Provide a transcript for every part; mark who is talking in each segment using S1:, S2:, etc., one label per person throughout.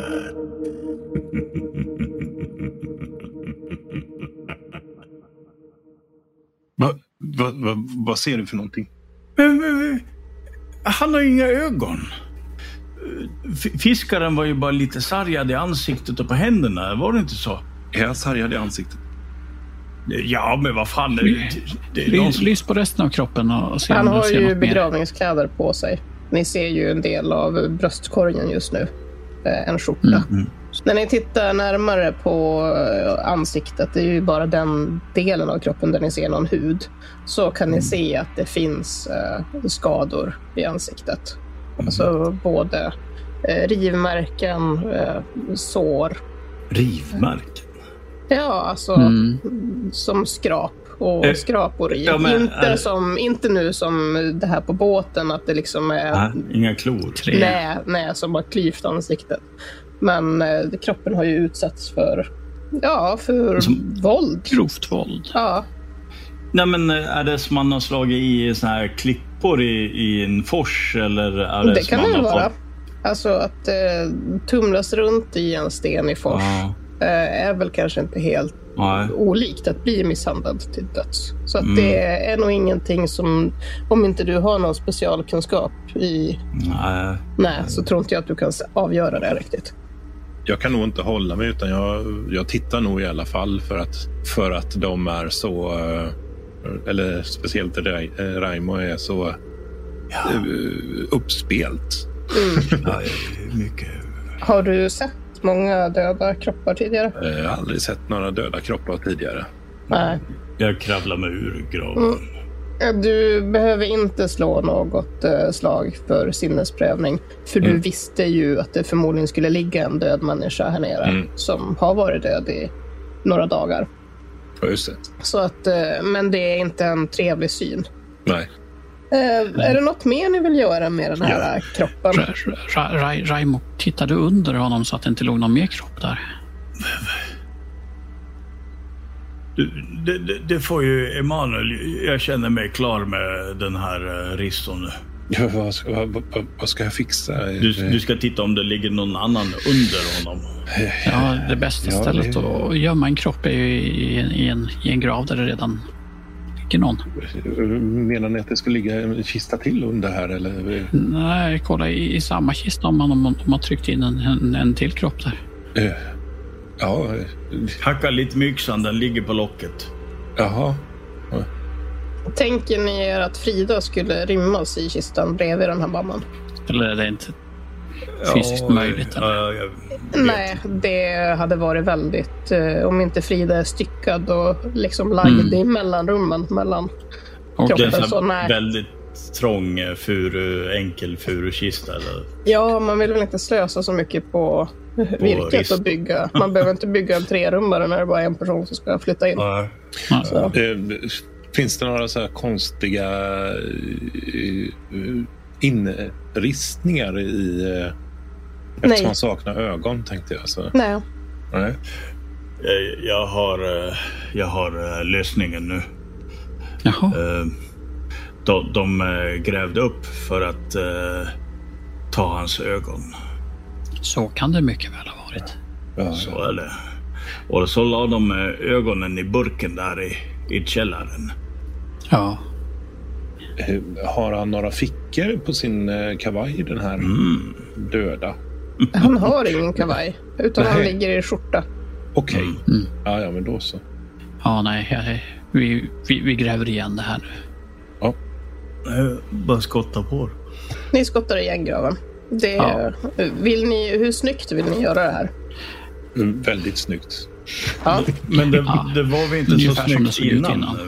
S1: Skräckblandat.
S2: Va, va, va, vad ser du för någonting?
S1: Men, men, men, han har inga ögon. F- Fiskaren var ju bara lite sargad i ansiktet och på händerna, var det inte så?
S2: Är jag sargad i ansiktet?
S1: Ja, men vad fan. Det, det är någon
S3: Lys,
S1: som...
S3: lys på resten av kroppen och, och se
S4: Han
S3: om du
S4: har
S3: ser
S4: ju
S3: något mer.
S4: begravningskläder på sig. Ni ser ju en del av bröstkorgen just nu. Eh, En skjorta.
S3: Mm,
S4: Så När ni tittar närmare på eh, ansiktet, det är ju bara den delen av kroppen där ni ser någon hud, så kan
S3: Mm.
S4: ni se att det finns eh, skador i ansiktet.
S3: Mm.
S4: Alltså både eh, rivmärken, eh, sår,
S1: Rivmärken.
S4: ja, alltså
S3: Mm.
S4: som skrap och
S1: Eh,
S4: skrapor i.
S1: ja, men,
S4: inte,
S1: eh,
S4: som, inte nu som det här på båten, att det liksom är
S1: Nej, inga klor.
S3: Tre.
S4: nä, nä som har klyvt ansiktet. Men eh, kroppen har ju utsatts för, ja, för
S1: Som-
S4: våld.
S3: Grovt våld.
S4: Ja,
S1: Nej, men eh, är det som man har slagit i såna här klippor i, i en fors? Eller är det,
S4: det
S1: som
S4: kan det
S1: man
S4: ju
S1: har
S4: vara.
S1: fått-
S4: Alltså att eh, tumlas runt i en sten i fors
S1: Ja,
S4: eh, är väl kanske inte helt
S1: nej.
S4: olikt att bli misshandlad till döds. Så att det är nog ingenting som, om inte du har någon specialkunskap i
S1: nej.
S4: Nej, så tror inte jag att du kan s- avgöra det riktigt.
S2: Jag kan nog inte hålla mig utan jag, jag tittar nog i alla fall för att, för att de är så... eh, Eller speciellt Rai- eh, Raimo är så
S1: Ja.
S2: eh, uppspelt.
S1: Ja, mycket.
S4: Har du sett många döda kroppar tidigare?
S2: Eh, Jag har aldrig sett några döda kroppar tidigare.
S4: Nej.
S1: Jag kravlar mig ur
S4: Mm.
S1: graven.
S4: Eh, Du behöver inte slå något eh, slag för sinnesprövning. För du visste ju att det förmodligen skulle ligga en död människa här nere
S2: Mm.
S4: som har varit död i några dagar.
S2: Ja, just det.
S4: Så att, eh, men det är inte en trevlig syn.
S2: Nej.
S4: Eh, är det något mer ni vill göra med den här eh, kroppen?
S3: Ra- ra- ra- ra- Raimo, tittar du under honom så att det inte låg någon mer kropp där?
S1: Du, det, det, det får ju Emanuel. Jag känner mig klar med den här eh, ristorn.
S2: Ja, vad, ska, vad, vad, vad ska jag fixa? Eh,
S1: Du, du ska titta om det ligger någon annan under honom.
S2: eh,
S3: Ja, det bästa
S2: Ja, det-
S3: stället att gömma en kropp är ju i, en- i, en, i en grav där det redan ligger någon.
S2: Menar ni att det ska ligga en kista till under här? Eller?
S3: Nej, kolla i, i samma kista om man, om man, om man tryckt in en, en, en till kropp där.
S2: Eh, Ja, eh,
S1: Hacka lite med yxan, den ligger på locket.
S2: jaha.
S4: Tänker ni er att Frida skulle rymmas i kistan bredvid den här mamman?
S3: Eller är det inte fysiskt möjligt? Eller?
S1: Ja, jag vet.
S4: Nej, det hade varit väldigt, eh, om inte Frida är styckad och liksom lagd i mellanrummen mellan
S3: Och
S1: Det är en sån här
S4: Så Alltså, nej.
S1: väldigt trång eh, furu, enkel furukista. Eller?
S4: Ja, man vill väl inte slösa så mycket på virket
S1: risk.
S4: och bygga. Man behöver inte bygga en trerummare när det bara är en person som ska flytta in.
S1: Ja.
S3: ja,
S4: Så.
S2: Eh, Finns det några så här konstiga eh, eh, inristningar i... eh, Eftersom
S4: Nej.
S2: man saknar ögon, tänkte jag. Så.
S4: Nej.
S2: Nej.
S1: Jag, jag, har, eh, jag har eh, lösningen nu.
S3: Jaha,
S1: Eh, De, de eh, grävde upp för att eh, ta hans ögon.
S3: så kan det mycket väl ha varit.
S2: Ja,
S1: Så är det. Och så la de eh, ögonen i burken där i, i källaren.
S3: Ja,
S2: eh, Har han några fickor på sin eh, kavaj, den här
S3: Mm.
S2: döda?
S4: Han har ingen kavaj, utan han
S2: Nej.
S4: ligger i skjorta.
S2: Okej. Ja, ja, men då så.
S3: ja nej, jag, vi, vi, vi gräver igen det här nu.
S2: Ja.
S1: Eh, Bara skotta på det.
S4: Ni skottar igen graven. Det,
S3: Ja.
S4: vill ni, hur snyggt vill ni göra det här?
S2: Mm, Väldigt snyggt.
S4: Ja.
S1: Men det, det var vi inte så
S3: Ungefär som det
S1: snyggt
S3: såg ut
S1: innan.
S3: innan.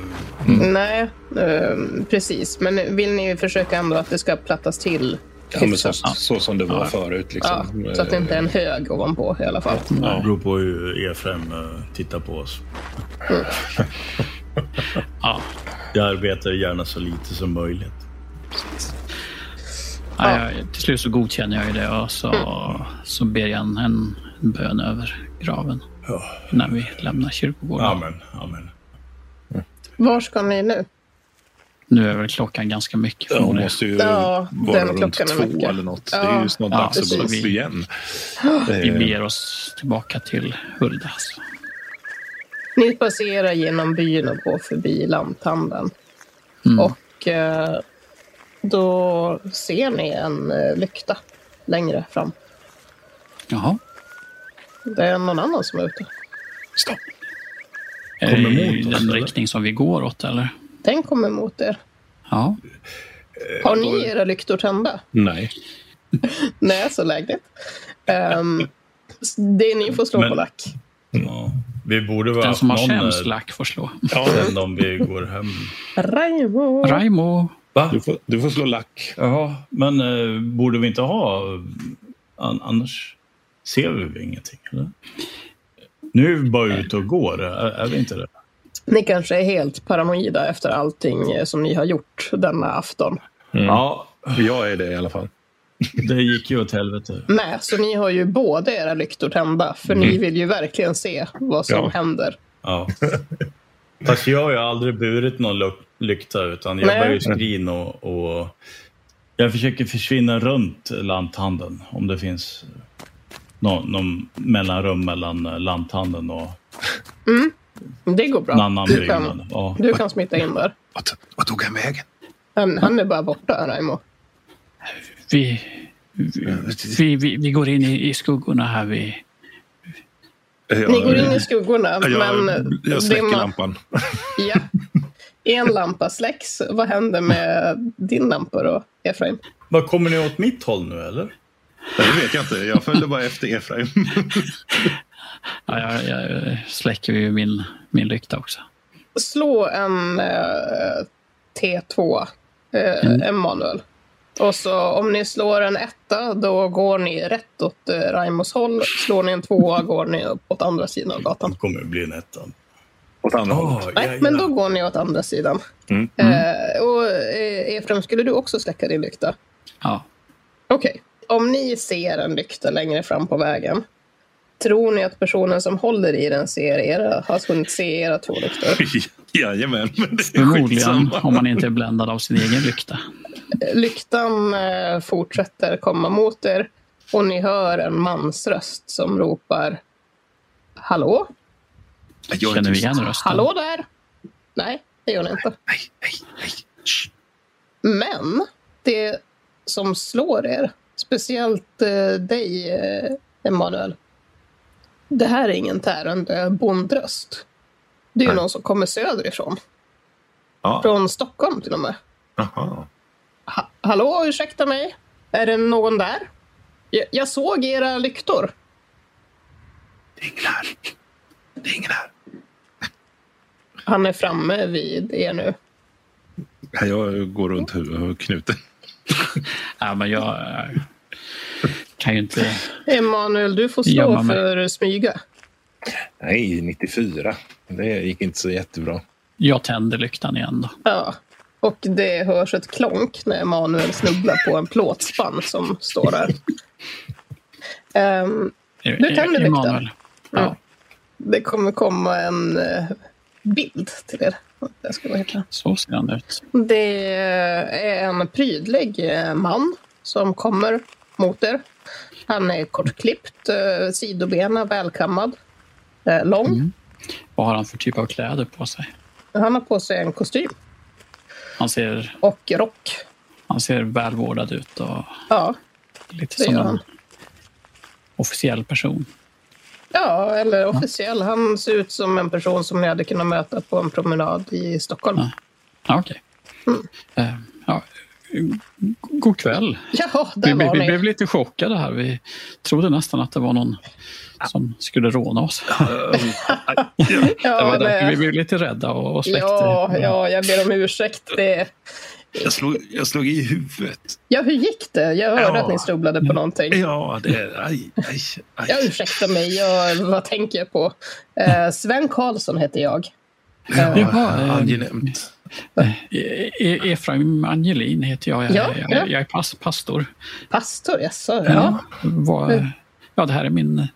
S2: Mm.
S4: Nej, eh, precis. Men vill ni försöka ändå att det ska plattas till?
S2: Ja, men så,
S4: hyfsat?
S2: så som det var förut.
S4: Ja,
S2: Liksom.
S4: så att det inte är en hög ovanpå i alla fall.
S2: Mm.
S1: Det beror på hur Efraim eh, tittar på oss.
S3: Ja,
S1: Jag arbetar gärna så lite som möjligt.
S3: Ja, jag, till slut så godkänner jag ju det och så, så ber jag en, en bön över graven
S1: Ja.
S3: när vi lämnar kyrkogården.
S1: Amen, amen.
S4: Var ska ni nu?
S3: Nu är väl klockan ganska mycket.
S2: Hon
S3: förmodligen.
S2: måste ju
S4: Ja,
S2: vara
S4: den
S2: runt
S4: klockan är
S2: två
S4: mycket.
S2: eller något.
S4: Ja,
S2: Det är ju snart
S3: ja,
S2: dags att börja
S3: precis.
S2: igen.
S3: Vi
S2: Eh,
S3: beger oss tillbaka till Hulda. alltså.
S4: Ni passerar genom byn och går förbi lanthandeln.
S2: Mm.
S4: Och eh, då ser ni en eh, lykta längre fram.
S3: Jaha.
S4: Det är någon annan som är ute.
S2: Stopp!
S3: Är
S1: Kommer
S3: det i
S1: mot oss,
S3: den
S1: eller?
S3: riktning som vi går åt eller?
S4: Den kommer mot er.
S3: Ja.
S2: Eh,
S4: Har ni era lyktor tända?
S2: Nej.
S4: Nej, så lägligt. Ehm, s- det ni får slå
S1: Men-
S4: på lack.
S1: Ja. Vi borde väl
S3: Den
S1: haft
S3: som har
S1: någon
S3: sämst
S1: eh,
S3: lack får slå.
S1: plan om vi går hem.
S4: Raimo!
S3: Raimo.
S1: Va?
S2: Du får, du får slå lack.
S1: Jaha, men eh, borde vi inte ha... eh, An, annars ser vi väl ingenting, eller? Nu är vi bara ute och går, är, är vi inte det?
S4: Ni kanske är helt paranoida efter allting eh, som ni har gjort denna afton.
S1: Ja,
S2: Jag är det i alla fall.
S1: det gick ju åt helvete.
S4: Nej, så ni har ju båda era lyktor tända. För ni vill ju verkligen se vad som
S2: Mm. Ja.
S4: händer.
S1: Ja. Fast jag har ju aldrig burit någon luk- lykta, utan jag
S4: Nej.
S1: bär ju skrin och, och... Jag försöker försvinna runt lanthandeln, om det finns någon, någon mellanrum mellan eh, lanthandeln och
S4: Det går bra.
S1: en annan
S4: Du kan,
S1: byggnad. Ja.
S4: du kan smita in där.
S2: Vart, vart tog han vägen?
S4: Han, han är bara borta, Raimo.
S3: Vi, vi, vi, vi går in i, i skuggorna här. Vi,
S2: Jag,
S4: Ni går in i skuggorna,
S2: jag,
S4: men...
S2: jag släcker
S4: dimma-
S2: lampan.
S4: Ja. En lampa släcks. Vad händer med din lampa då, Efraim?
S1: Vad kommer ni åt mitt håll nu, eller?
S2: Det vet jag inte. Jag följde bara efter Efraim.
S3: ja, jag, jag släcker ju min, min lykta också.
S4: Slå en eh, T2, eh, Emanuel. Och så om ni slår en etta, då går ni rätt åt eh, Raimos håll. Slår ni en tvåa, går ni upp åt andra sidan av gatan.
S1: Det kommer ju bli en etta.
S2: Åt
S3: Ah.
S2: andra hållet.
S1: Åh,
S4: Nej,
S1: ja,
S4: men
S1: ja.
S4: då går ni åt andra sidan.
S2: Mm.
S4: Eh, och eh, Efraim, skulle du också släcka din lykta?
S3: Ja.
S4: Okej. Om ni ser en lykta längre fram på vägen, tror ni att personen som håller i den ser era, har hunnit se era två lyktor?
S2: Jajamän, men det är liksom.
S3: Förmodligen
S2: skitsamma.
S3: om man inte är bländad av sin egen lykta.
S4: Eh, Lyktan eh, fortsätter komma mot er och ni hör en mans röst som ropar Hallå?
S2: Jag är
S3: Känner vi
S2: tyst.
S3: igen rösten?
S4: Hallå där! Nej, det gör ni inte.
S2: Nej, nej, nej. Shh.
S4: Men det som slår er, speciellt eh, dig, eh, Emanuel. Det här är ingen tärande bondröst. Det är ju
S2: Nej.
S4: någon som kommer söderifrån.
S2: Ja.
S4: Från Stockholm till och med.
S2: Aha.
S4: Ha- Hallå, ursäkta mig? Är det någon där? Jag, jag såg era lyktor.
S2: Det är ingen här. Det är ingen här.
S4: Han är framme vid er nu.
S2: Ja, Jag går runt huvudet och knuter.
S3: Ja, men jag eh, kan ju inte...
S4: Emanuel, du får
S3: Gömma
S4: slå
S3: mig.
S4: för smyga.
S2: Nej, 94. Det gick inte så jättebra.
S3: Jag tänder lyktan igen då.
S4: Ja. Och det hörs ett klonk när Emanuel snubblar på en plåtspann som står där. Ehm, Nu tänder lyktan.
S3: Emanuel. Ja,
S4: det kommer komma en eh, bild till er. Jag ska bara hitta.
S3: så ser han ut.
S4: Det är en prydlig eh, man som kommer mot er. Han är kortklippt, eh, sidobena välkammad, eh, lång.
S3: Vad har han för typ av kläder på sig?
S4: Han har på sig en kostym
S3: Han ser,
S4: och rock.
S3: han ser välvårdad ut och
S4: Ja,
S3: lite
S4: Det
S3: som
S4: gör
S3: en
S4: han.
S3: officiell person.
S4: ja eller officiell. Han ser ut som en person som ni hade kunnat möta på en promenad i Stockholm.
S3: Ja. Ja, okej.
S4: Mm.
S3: Eh, Ja, g- god kväll.
S4: Ja,
S3: Vi,
S4: där
S3: vi,
S4: var
S3: vi blev
S4: ni.
S3: lite chockade här. Vi trodde nästan att det var någon som skulle råna oss. det
S4: Ja,
S3: var därför vi
S4: det,
S3: blev lite rädda och, och släckte.
S4: ja, ja, jag ber om ursäkt. Det,
S2: Jag slog, jag slog i huvudet.
S4: ja, hur gick det? Jag hörde
S2: Ja.
S4: att ni snubblade på någonting.
S2: Ja, det... Aj, aj, aj.
S4: Ja, ursäkta mig, jag, vad tänker jag på? Eh, Sven Karlsson heter jag. Eh,
S3: Jaha, eh,
S2: angenämt.
S3: E- E- Efraim Angelin heter jag. Jag,
S4: Ja, ja.
S3: jag, jag är pas, pastor.
S4: Pastor, jaså?
S3: Ja.
S4: Ja. Mm.
S3: Var, ja, det här är min,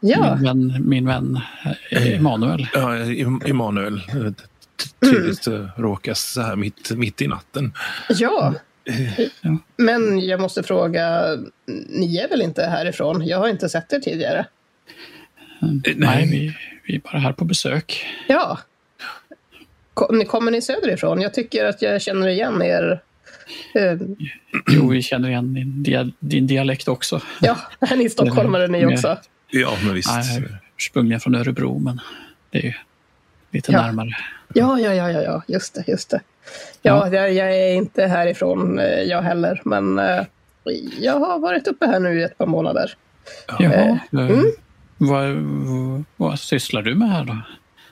S4: ja.
S3: min vän, min vän eh, Emanuel.
S2: Ja, Em- Emanuel. eh, t- Tydligt mm. råkas så här mitt, mitt i natten.
S4: Ja.
S3: Ja.
S4: Men jag måste fråga, ni är väl inte härifrån? Jag har inte sett er tidigare.
S3: Nej,
S2: eh, nej.
S3: vi, vi är bara här på besök.
S4: Ja. Ko- ni- Kommer ni söderifrån? Jag tycker att jag känner igen er. Eh,
S3: Jo,
S2: Mm.
S3: vi känner igen din, dia, din dialekt också.
S4: Ja, är ni stockholmare ni också?
S2: Ja, men visst.
S3: Nej, jag är ursprungligen från Örebro, men det är ju lite
S4: Ja.
S3: närmare.
S4: Ja, ja, ja, ja, ja. just det. Just det. Ja, Jag, jag är inte härifrån eh, jag heller, men eh, jag har varit uppe här nu i ett par månader.
S3: Jaha.
S4: mm.
S3: eh, Vad, vad, vad sysslar du med här då?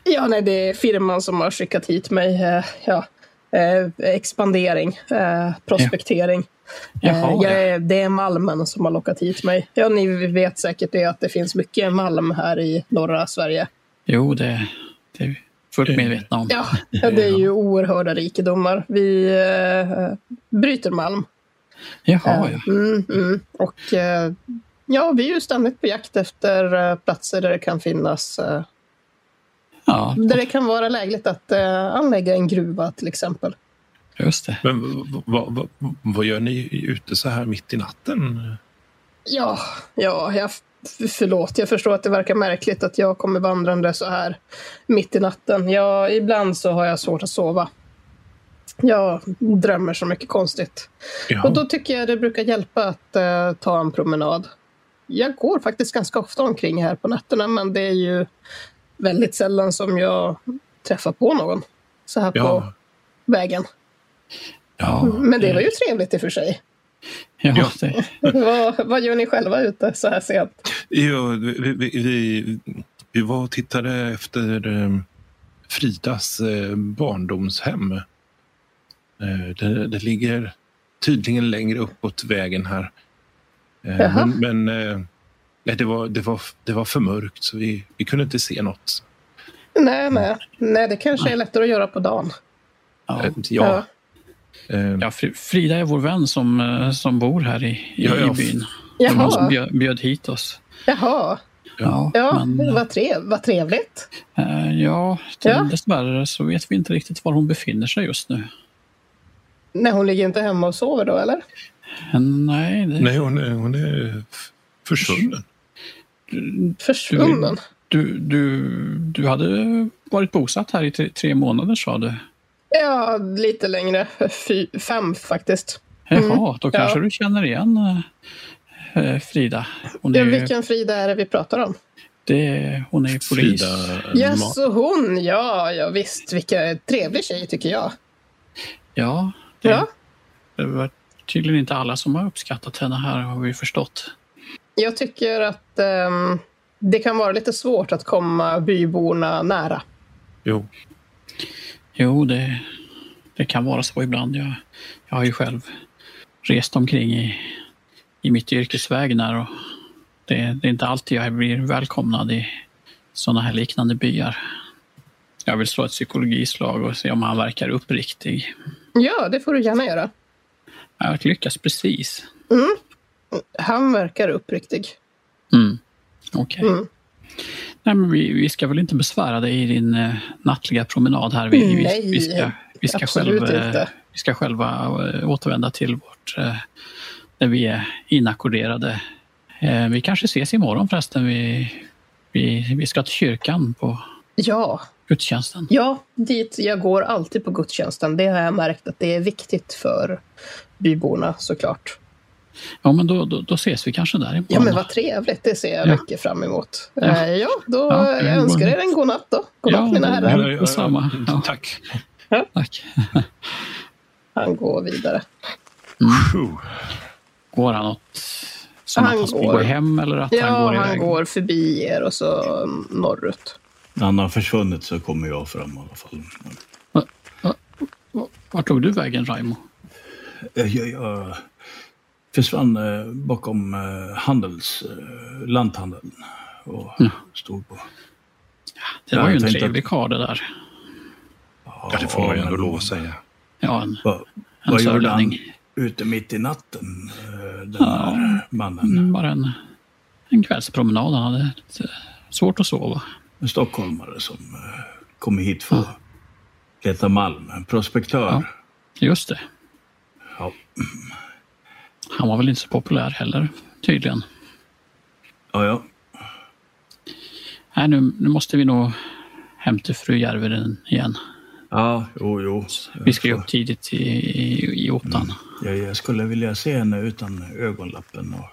S4: Ja, nej, det är firman som har skickat hit mig. eh, Ja. Eh, expandering, eh, prospektering.
S3: Jaha,
S4: eh, jag,
S3: ja.
S4: är- Det är malmen som har lockat hit mig. Ja, ni vet säkert det att det finns mycket malm här i norra Sverige.
S3: Jo, det, det är vi
S2: Eh,
S3: fullt medvetna om.
S4: Ja, det är ju oerhörda rikedomar. Vi eh, bryter malm.
S3: Jaha, ja.
S4: Mm, mm. Och eh, ja, vi är ju ständigt på jakt efter eh, platser där det kan finnas, eh,
S3: ja.
S4: där det kan vara lägligt att eh, anlägga en gruva till exempel.
S3: Just det.
S2: Men v- vad, vad, vad gör ni ute så här mitt i natten?
S4: Ja, ja, jag, f- förlåt, jag förstår att det verkar märkligt att jag kommer vandrande så här mitt i natten. Ja, ibland så har jag svårt att sova. Jag drömmer så mycket konstigt.
S2: Ja.
S4: Och då tycker jag det brukar hjälpa att eh, ta en promenad. Jag går faktiskt ganska ofta omkring här på nätterna, men det är ju väldigt sällan som jag träffar på någon så här på
S2: ja.
S4: vägen.
S2: ja.
S4: Men det var ju trevligt i och för sig.
S3: Ja,
S2: Ja.
S3: det.
S4: vad, vad gör ni själva ute så här sent?
S2: Jo, vi, vi, vi, vi var och tittade efter eh, Fridas eh, barndomshem. Eh, Det, det ligger tydligen längre uppåt vägen här. Eh,
S4: Jaha.
S2: Men, men eh, nej, det, var, det, var, det var för mörkt så vi, vi kunde inte se något.
S4: Nej, nej, nej, det kanske är lättare att göra på dagen.
S3: Ja.
S2: Eh, Ja. Eh,
S3: Ja, Fri- Frida är vår vän som, eh, som bor här i, i,
S2: Ja, ja.
S3: i byn. Det var hon som
S4: Jaha,
S3: bjöd, bjöd hit oss.
S4: jaha.
S3: Ja,
S4: Ja,
S3: men
S4: vad, trev, vad trevligt.
S3: eh, ja, till
S4: Ja.
S3: dessvärre så vet vi inte riktigt var hon befinner sig just nu.
S4: Nej, hon ligger inte hemma och sover då, eller?
S3: Eh, Nej, det,
S2: Nej, hon är, hon är f- försvunnen.
S4: Försvunnen.
S3: Du, du, du hade varit bosatt här i tre, tre månader sa
S4: Mm.
S3: du.
S4: Ja, lite längre. Fy, fem faktiskt.
S3: Jaha, då kanske
S4: ja.
S3: du känner igen eh, eh, Frida. Hon är,
S4: Ja,
S3: ju-
S4: vilken Frida är det vi pratar om?
S3: det, hon är ju polis.
S2: Frida, eh, Ma-
S4: Jaså, hon. Ja, ja, visst. Vilken trevlig tjej, tycker jag.
S3: Ja, det,
S4: Ja,
S3: det var tydligen inte alla som har uppskattat henne här har vi förstått.
S4: jag tycker att ehm, det kan vara lite svårt att komma byborna nära.
S2: Jo.
S3: Jo, det, det kan vara så ibland. Jag, jag har ju själv rest omkring i, i mitt yrkesväg när och det, det är inte alltid jag blir välkomnad i sådana här liknande byar. Jag vill slå ett psykologislag och se om han verkar uppriktig.
S4: Ja, det får du gärna göra.
S3: Jag lyckas precis.
S4: Han verkar uppriktig.
S3: Mm. Okej.
S4: Mm.
S3: Nej, men vi, vi ska väl inte besvära dig i din eh, nattliga promenad här. Vi, vi, vi ska, vi ska
S4: Absolut
S3: själv, eh,
S4: inte.
S3: Vi ska själva eh, återvända till vårt, eh, där vi är inackorderade. Eh, Vi kanske ses imorgon förresten. Vi, vi, vi ska till kyrkan på
S4: Ja,
S3: gudstjänsten.
S4: ja, dit jag går alltid på gudstjänsten. Det har jag märkt att det är viktigt för byborna såklart.
S3: Ja, men då, då, då ses vi kanske där imorgon.
S4: Ja, men vad trevligt. Det ser jag
S3: Ja.
S4: mycket fram emot.
S3: Ja.
S4: Ja, ja då
S3: Ja,
S4: eh,
S3: det är
S4: jag önskar
S3: bra.
S4: er en god natt då. God natt
S3: Ja,
S4: mina
S3: det-
S4: herrar.
S3: Ja, Mm, detsamma. Ja.
S2: Tack.
S3: Tack.
S4: Han går vidare.
S2: Puh.
S3: Går han åt som
S4: Han
S3: att han ska
S4: går.
S3: gå hem eller att
S4: Ja,
S3: han går iväg?
S4: förbi er och så mm, norrut.
S1: När han har försvunnit så kommer jag fram i alla fall.
S3: Vart tog du vägen, Raimo?
S1: Jag, jag, jag försvann eh, bakom eh, handels, eh, lanthandeln och stod på.
S3: Det
S1: Ja,
S3: var ju
S1: jag
S3: en
S1: tänkte att-
S3: trevlig karl det där.
S2: Ja, det får man ju ändå lov att säga.
S3: Ja, en,
S1: Vad,
S3: en
S1: vad gjorde han
S3: sörlänning.
S1: ute mitt i natten, eh, den här mannen?
S3: Mm, Bara en, en kvällspromenad. Han hade lite svårt att sova.
S1: En stockholmare som eh, kom hit för att leta malm. En prospektör.
S3: Just det.
S1: Ja.
S3: Han var väl inte så populär heller, tydligen.
S1: Ja, ja.
S3: Nej, nu, nu måste vi nog hem till fru Järvinen igen.
S1: Ja, Mm. jo, jo.
S3: Vi ska ju upp tidigt i, i, i åttan.
S1: Jag, jag skulle vilja se henne utan ögonlappen. Och...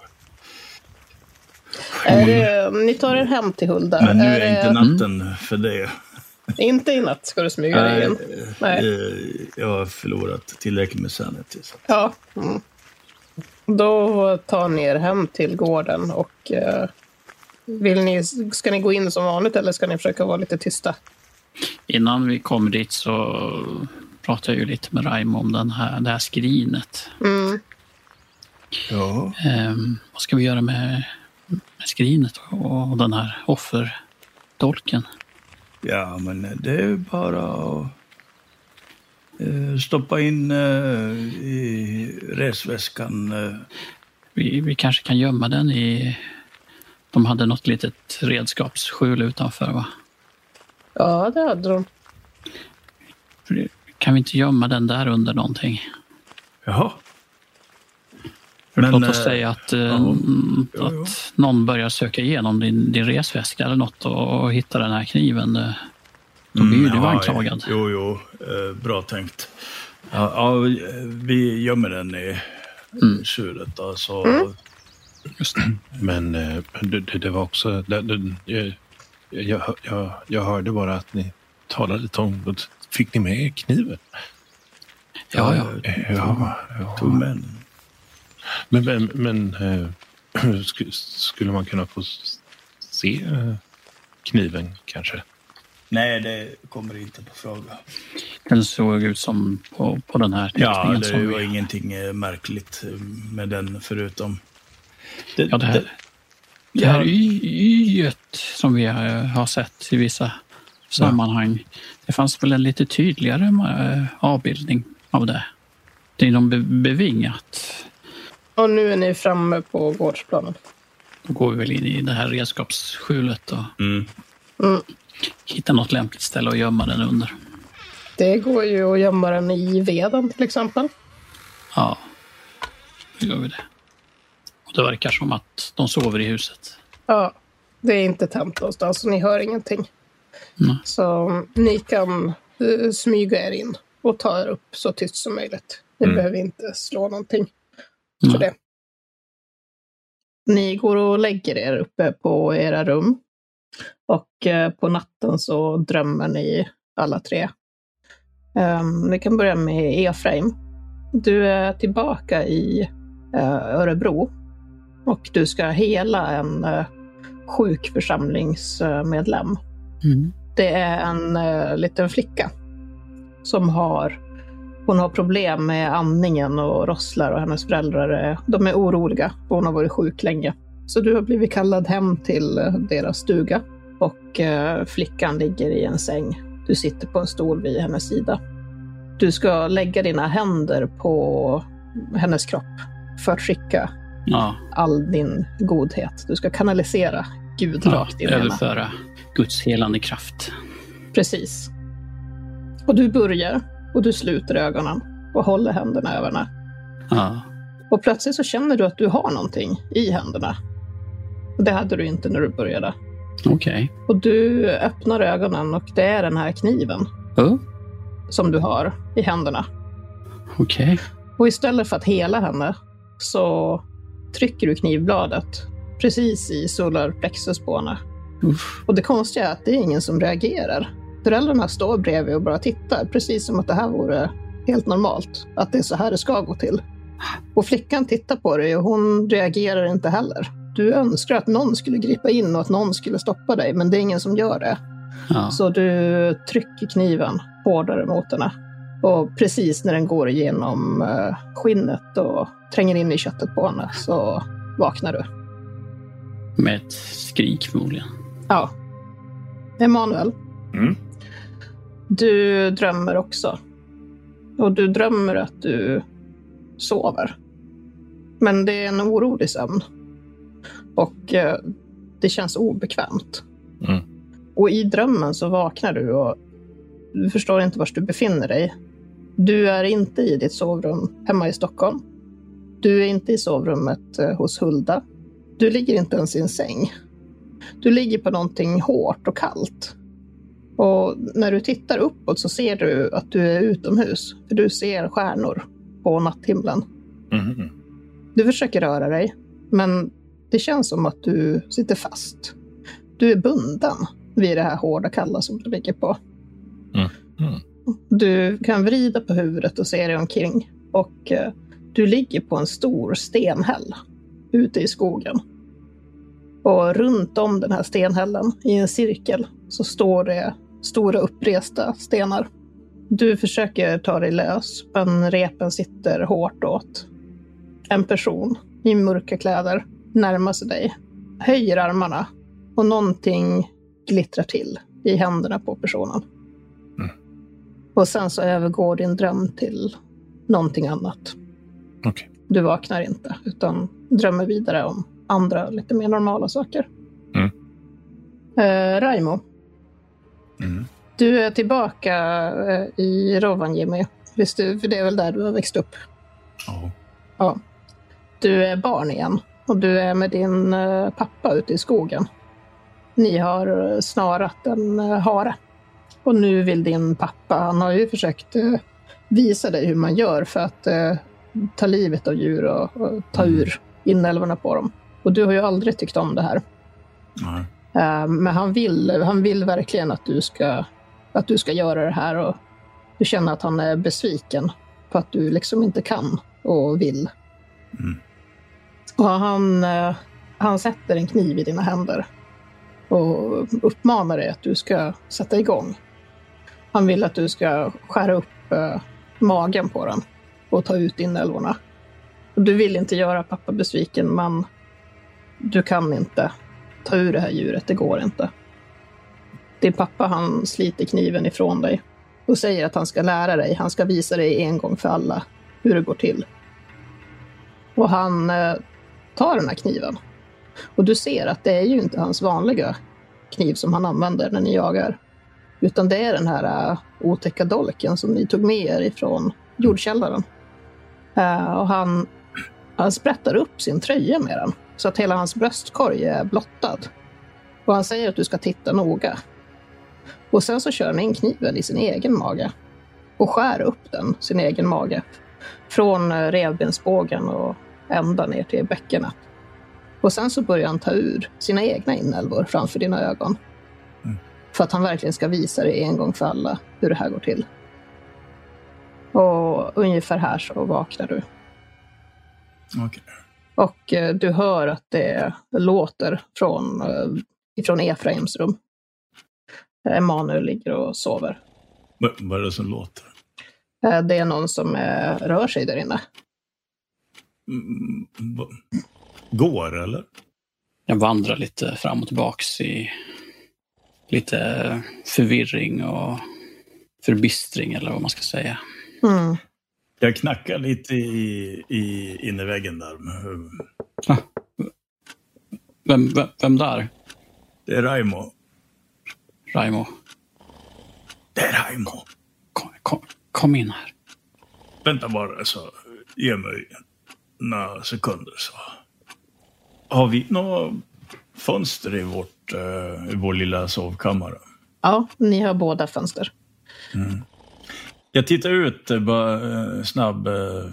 S4: Är det, ni tar er hem till Hulda.
S1: Men nu är
S4: det-
S1: inte natten för det.
S4: Inte i natt ska du smyga dig in. Nej.
S1: Eh, Jag har förlorat tillräckligt med sanity. Så.
S4: Ja. Mm. Då tar ni er hem till gården och eh, vill ni, ska ni gå in som vanligt eller ska ni försöka vara lite tysta?
S3: Innan vi kom dit så pratade jag ju lite med Raimo om den här, det här skrinet.
S4: Mm.
S1: Ja.
S3: Ehm, vad ska vi göra med, med skrinet och, och den här offerdolken?
S1: ja, men det är bara att eh, stoppa in eh, i resväskan. eh.
S3: Vi, vi kanske kan gömma den i... De hade något litet redskapsskjul utanför, va?
S4: Ja, det hade de.
S3: För det- Kan vi inte gömma den där under någonting?
S1: Jaha.
S3: För
S1: Men,
S3: Låt oss
S1: eh,
S3: säga att, eh,
S1: Jo, jo.
S3: att någon börjar söka igenom din, din resväska eller något och, och hittar den här kniven. eh, Då blir ju du
S1: Mm, ja,
S3: anklagad.
S1: Jo, jo, eh, bra tänkt. Ja, ja, vi gömmer den i mm. suret. Alltså.
S3: Just det.
S2: Men eh, det, det det var också... Det, det, jag- jag, hör- jag, jag hörde bara att ni talade lite om... då Fick ni med er kniven? Eh,
S3: Ja, ja.
S2: Ja, ja.
S1: Tog med den.
S2: Men, men, men eh, sk- skulle man kunna få s- se eh, kniven kanske?
S1: Nej, det kommer inte på fråga.
S3: Den såg ut som på, på den här
S1: Ja,
S3: teckningen.
S1: det
S3: som
S1: var
S3: vi,
S1: ingenting eh, märkligt eh, med den förutom... Det,
S3: ja, det här, det här y- yet som vi har, eh, har sett i vissa sammanhang. Det fanns väl en lite tydligare eh, avbildning av det. Det är någon be- bevingat.
S4: Och nu är ni framme på gårdsplanen.
S3: Då går vi väl in i det här redskapsskjulet och
S1: Mm.
S3: hitta något lämpligt ställe att gömma den under.
S4: Det går ju att gömma den i veden till exempel.
S3: Ja, då gör vi det. Och det verkar som att de sover i huset.
S4: Ja, det är inte tänt någonstans så ni hör ingenting.
S3: Nej.
S4: Så ni kan eh, smyga er in och ta er upp så tyst som möjligt. Ni
S2: Mm.
S4: behöver inte slå någonting
S3: Nej.
S4: för det. Ni går och lägger er uppe på era rum. Och eh, på natten så drömmer ni alla tre. Ehm, vi kan börja med Efraim. Du är tillbaka i eh, Örebro och du ska hela en eh, sjuk församlingsmedlem.
S3: Mm.
S4: Det är en eh, liten flicka som har hon har problem med andningen och rosslar och hennes föräldrar är, de är oroliga. för Hon har varit sjuk länge. Så du har blivit kallad hem till eh, deras stuga och eh, flickan ligger i en säng. Du sitter på en stol vid hennes sida. Du ska lägga dina händer på hennes kropp för att skicka
S3: Ja,
S4: all din godhet. Du ska kanalisera Gud
S3: ja,
S4: rakt in i henne.
S3: överföra Guds helande kraft.
S4: Precis. Och du börjar och du sluter ögonen och håller händerna över henne.
S3: Ja.
S4: Och plötsligt så känner du att du har någonting i händerna. Och det hade du inte när du började.
S3: Okej.
S4: Och du öppnar ögonen och det är den här kniven
S3: Oh,
S4: som du har i händerna.
S3: Okej.
S4: Och istället för att hela henne så trycker du knivbladet precis i solarplexus på henne.
S3: Uff.
S4: Och det konstiga är att det är ingen som reagerar. Föräldrarna står bredvid och bara tittar, precis som att det här vore helt normalt. Att det är så här det ska gå till. Och flickan tittar på dig och hon reagerar inte heller. Du önskar att någon skulle gripa in och att någon skulle stoppa dig, men det är ingen som gör det.
S3: Ja.
S4: Så du trycker kniven hårdare mot henne. Och precis när den går igenom eh, skinnet och tränger in i köttet på henne så vaknar du.
S3: Med ett skrik förmodligen.
S4: Ja. Emanuel.
S2: Mm.
S4: Du drömmer också. Och du drömmer att du sover. Men det är en orolig sömn. Och eh, det känns obekvämt.
S2: Mm.
S4: Och i drömmen så vaknar du och du förstår inte var du befinner dig. Du är inte i ditt sovrum hemma i Stockholm. Du är inte i sovrummet eh, hos Hulda. Du ligger inte ens i en säng. Du ligger på någonting hårt och kallt. Och när du tittar uppåt så ser du att du är utomhus. För du ser stjärnor på natthimlen.
S2: Mhm.
S4: Du försöker röra dig, men det känns som att du sitter fast. Du är bunden vid det här hårda kalla som du ligger på.
S2: Mm. Mm.
S4: Du kan vrida på huvudet och se dig omkring. Och eh, du ligger på en stor stenhäll ute i skogen. Och runt om den här stenhällen, i en cirkel, så står det stora uppresta stenar. Du försöker ta dig lös, men repen sitter hårt åt. En person i mörka kläder närmar sig dig, höjer armarna och någonting glittrar till i händerna på personen.
S2: Mm.
S4: Och sen så övergår din dröm till någonting annat.
S2: Okej.
S4: Du vaknar inte, utan drömmer vidare om andra lite mer normala saker.
S2: Mm.
S4: Eh, Raimo,
S2: Mm.
S4: du är tillbaka eh, i Rovaniemi. Visst du, för det är väl där du har växt upp?
S2: Ja.
S4: Du är barn igen och du är med din eh, pappa ute i skogen. Ni har eh, snarat en eh, hare. Och nu vill din pappa, han har ju försökt eh, visa dig hur man gör för att eh, ta livet av djur och, och ta ur inälvorna på dem. Och du har ju aldrig tyckt om det här.
S1: Nej.
S4: Eh, Men han vill, han vill verkligen att du, ska, att du ska göra det här och du känner att han är besviken på att du liksom inte kan och vill.
S1: Mm.
S4: Och han, eh, han sätter en kniv i dina händer och uppmanar dig att du ska sätta igång. Han vill att du ska skära upp eh, magen på den och ta ut inälvorna. Och Du vill inte göra pappa besviken, men du kan inte ta ur det här djuret, det går inte. Din pappa han sliter kniven ifrån dig och säger att han ska lära dig, han ska visa dig en gång för alla hur det går till. Och han eh, tar den här kniven. Och du ser att det är ju inte hans vanliga kniv som han använder när ni jagar. Utan det är den här eh, otäcka dolken som ni tog med er ifrån jordkällaren. Eh, och han, han sprättar upp sin tröja med den så att hela hans bröstkorg är blottad. Och han säger att du ska titta noga. Och sen så kör han in kniven i sin egen mage och skär upp den, sin egen mage, från eh, revbensbågen och ända ner till bäckenet. Och sen så börjar han ta ur sina egna inälvor framför dina ögon.
S1: Mm.
S4: För att han verkligen ska visa dig en gång för alla hur det här går till. Och ungefär här så vaknar du.
S1: Okej.
S4: Och eh, du hör att det låter från, eh, ifrån Efraims rum. Eh, Emanuel ligger och sover.
S1: Vad- Vad är det som låter?
S4: Eh, Det är någon som eh, rör sig där inne.
S1: Mm, vad- Går, eller?
S3: Jag vandrar lite fram och tillbaks i lite förvirring och förbistring eller vad man ska säga.
S4: Mm.
S1: Jag knackar lite i, i innerväggen där. men- eh,
S3: Vem, vem, vem där,
S1: Det är Raimo.
S3: Raimo?
S1: Det är Raimo.
S3: Kom, kom, kom in här.
S1: Vänta bara, så ge mig några sekunder. Så. Har vi några fönster i, vårt, eh, i vår lilla sovkammare?
S4: Ja, ni har båda fönster.
S1: Jag tittar ut, eh, bara eh, snabb, eh,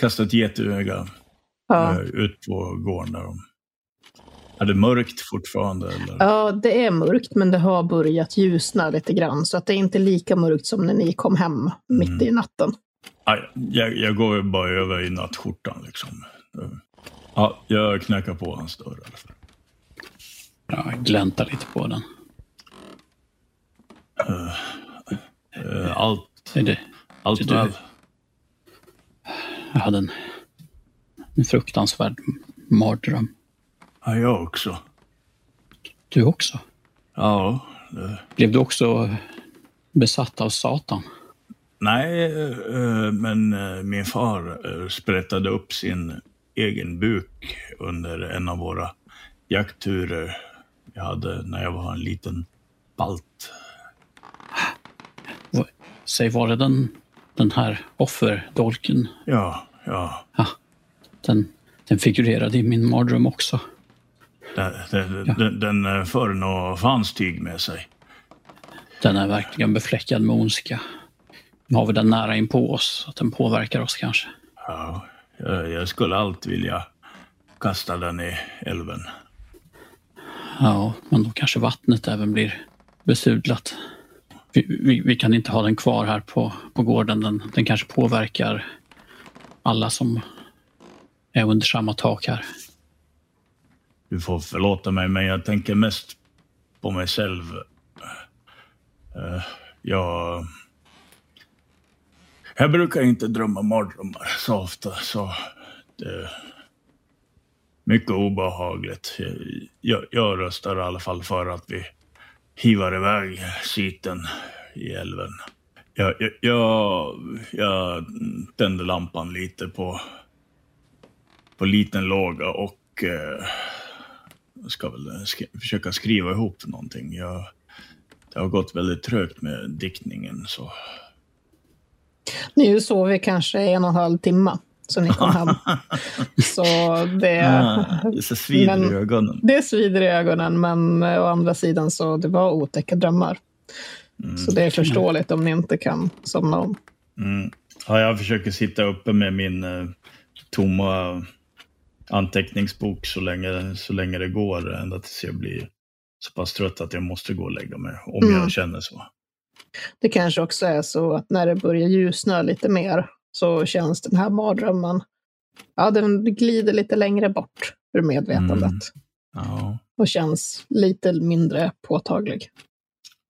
S1: kastar ett jätteöga
S4: Ja.
S1: eh, ut på gården. Där de, är det mörkt fortfarande? Eller?
S4: ja, det är mörkt men det har börjat ljusna lite grann. Så att det är inte lika mörkt som när ni kom hem mitt i natten.
S1: Aj, jag, jag går ju bara över i nattskjortan liksom. Eh, Ja, jag knackar på hans dörr. i alla fall.
S3: Ja, jag gläntar lite på den.
S1: Eh, Allt,
S3: Är det,
S1: allt
S3: du-
S1: väl?
S3: jag hade en, en fruktansvärd mardröm.
S1: Ja, jag också.
S3: Du också?
S1: Ja, det,
S3: Blev du också besatt av Satan.
S1: Nej, eh, men eh, min far eh, sprättade upp sin egen buk under en av våra jaktturer jag hade när jag var en liten balt.
S3: Och Säg, var det den, den här offerdolken?
S1: Ja, ja.
S3: Ja, den, den figurerade i min mardröm också.
S1: Den, den, den, den eh, förde nog fanns tyg med sig.
S3: Den är verkligen befläckad med ondska. Nu har vi den nära in på oss, att den påverkar oss kanske.
S1: Ja, jag, Eh, jag skulle allt vilja kasta den i älven.
S3: Ja, men då kanske vattnet även blir besudlat. Vi, vi, vi kan inte ha den kvar här på, på gården. Den, den kanske påverkar alla som är under samma tak här.
S1: Du får förlåta mig, men jag tänker mest på mig själv. Eh, jag... Jag brukar inte drömma mardrömmar så ofta, så... Det... Mycket obehagligt. Jag, jag röstar i alla fall för att vi hivar iväg siten i älven. Jag, jag, jag, jag tände lampan lite på, på liten låga och eh, jag ska väl sk- försöka skriva ihop någonting. Jag, det har gått väldigt trögt med diktningen. Så.
S4: Nu sov vi kanske en och en halv timme sen ni kom hem. Så det,
S1: Ah, det så
S4: svider i Men-
S1: ögonen.
S4: det svider i ögonen, men eh, å andra sidan så det var otäcka drömmar. Så det är förståeligt om ni inte kan somna om.
S1: Mm. Ja, jag försöker sitta uppe med min eh, tomma anteckningsbok så länge, så länge det går. Ända tills jag blir så pass trött att jag måste gå och lägga mig. Om
S4: Mm.
S1: jag känner så.
S4: Det kanske också är så att när det börjar ljusna lite mer så känns den här mardrömmen, ja den glider lite längre bort ur medvetandet
S1: Mm. Ja.
S4: och känns lite mindre påtaglig.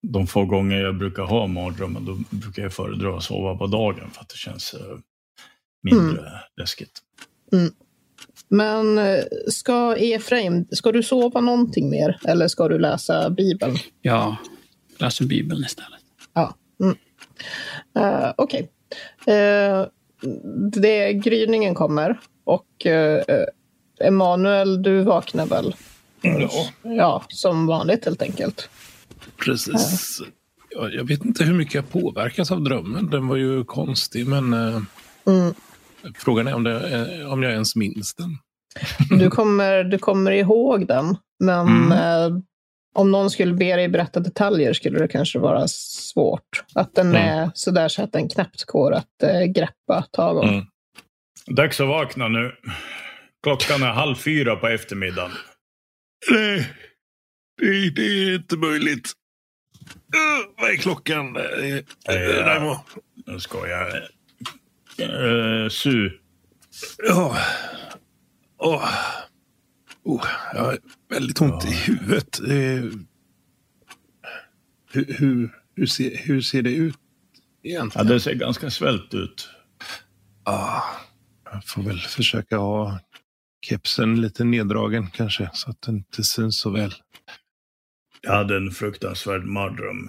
S1: De få gånger jag brukar ha mardrömmar, då brukar jag föredra att sova på dagen för att det känns eh, mindre
S4: Mm.
S1: läskigt.
S4: Men eh, ska Efraim, ska du sova någonting mer eller ska du läsa Bibeln?
S3: Jag läser Bibeln istället.
S4: Ja. Mm. Eh, Okej. Eh, det gryningen kommer och eh, eh, Emanuel, du vaknar väl?
S2: Ja,
S4: Ja, som vanligt helt enkelt.
S2: precis. Ja, jag vet inte hur mycket jag påverkas av drömmen. Den var ju konstig, men eh,
S4: Mm.
S2: frågan är om, det, eh, om jag ens minns den.
S4: Du, kommer, du kommer ihåg den, men
S2: Mm.
S4: eh, om någon skulle be dig berätta detaljer skulle det kanske vara svårt. Att den
S2: Mm.
S4: är sådär så att den knappt går att eh, greppa tag om.
S2: Mm.
S1: Dags att vakna nu. Klockan är halv fyra på eftermiddagen.
S2: Nej, det, det är inte möjligt. Uh, vad är klockan, eh, eh,
S1: Ja.
S2: Raimo?
S1: Nu ska jag. Eh, Su.
S2: Ja. Åh. Oh, jag har väldigt ont i huvudet. Eh, hur, hur, hur, ser, hur ser det ut
S1: Ja,
S2: egentligen?
S1: det ser ganska svält ut.
S2: Ah, jag får väl försöka ha kepsen lite neddragen kanske, så att den inte syns så väl.
S1: Jag hade en fruktansvärd mardröm.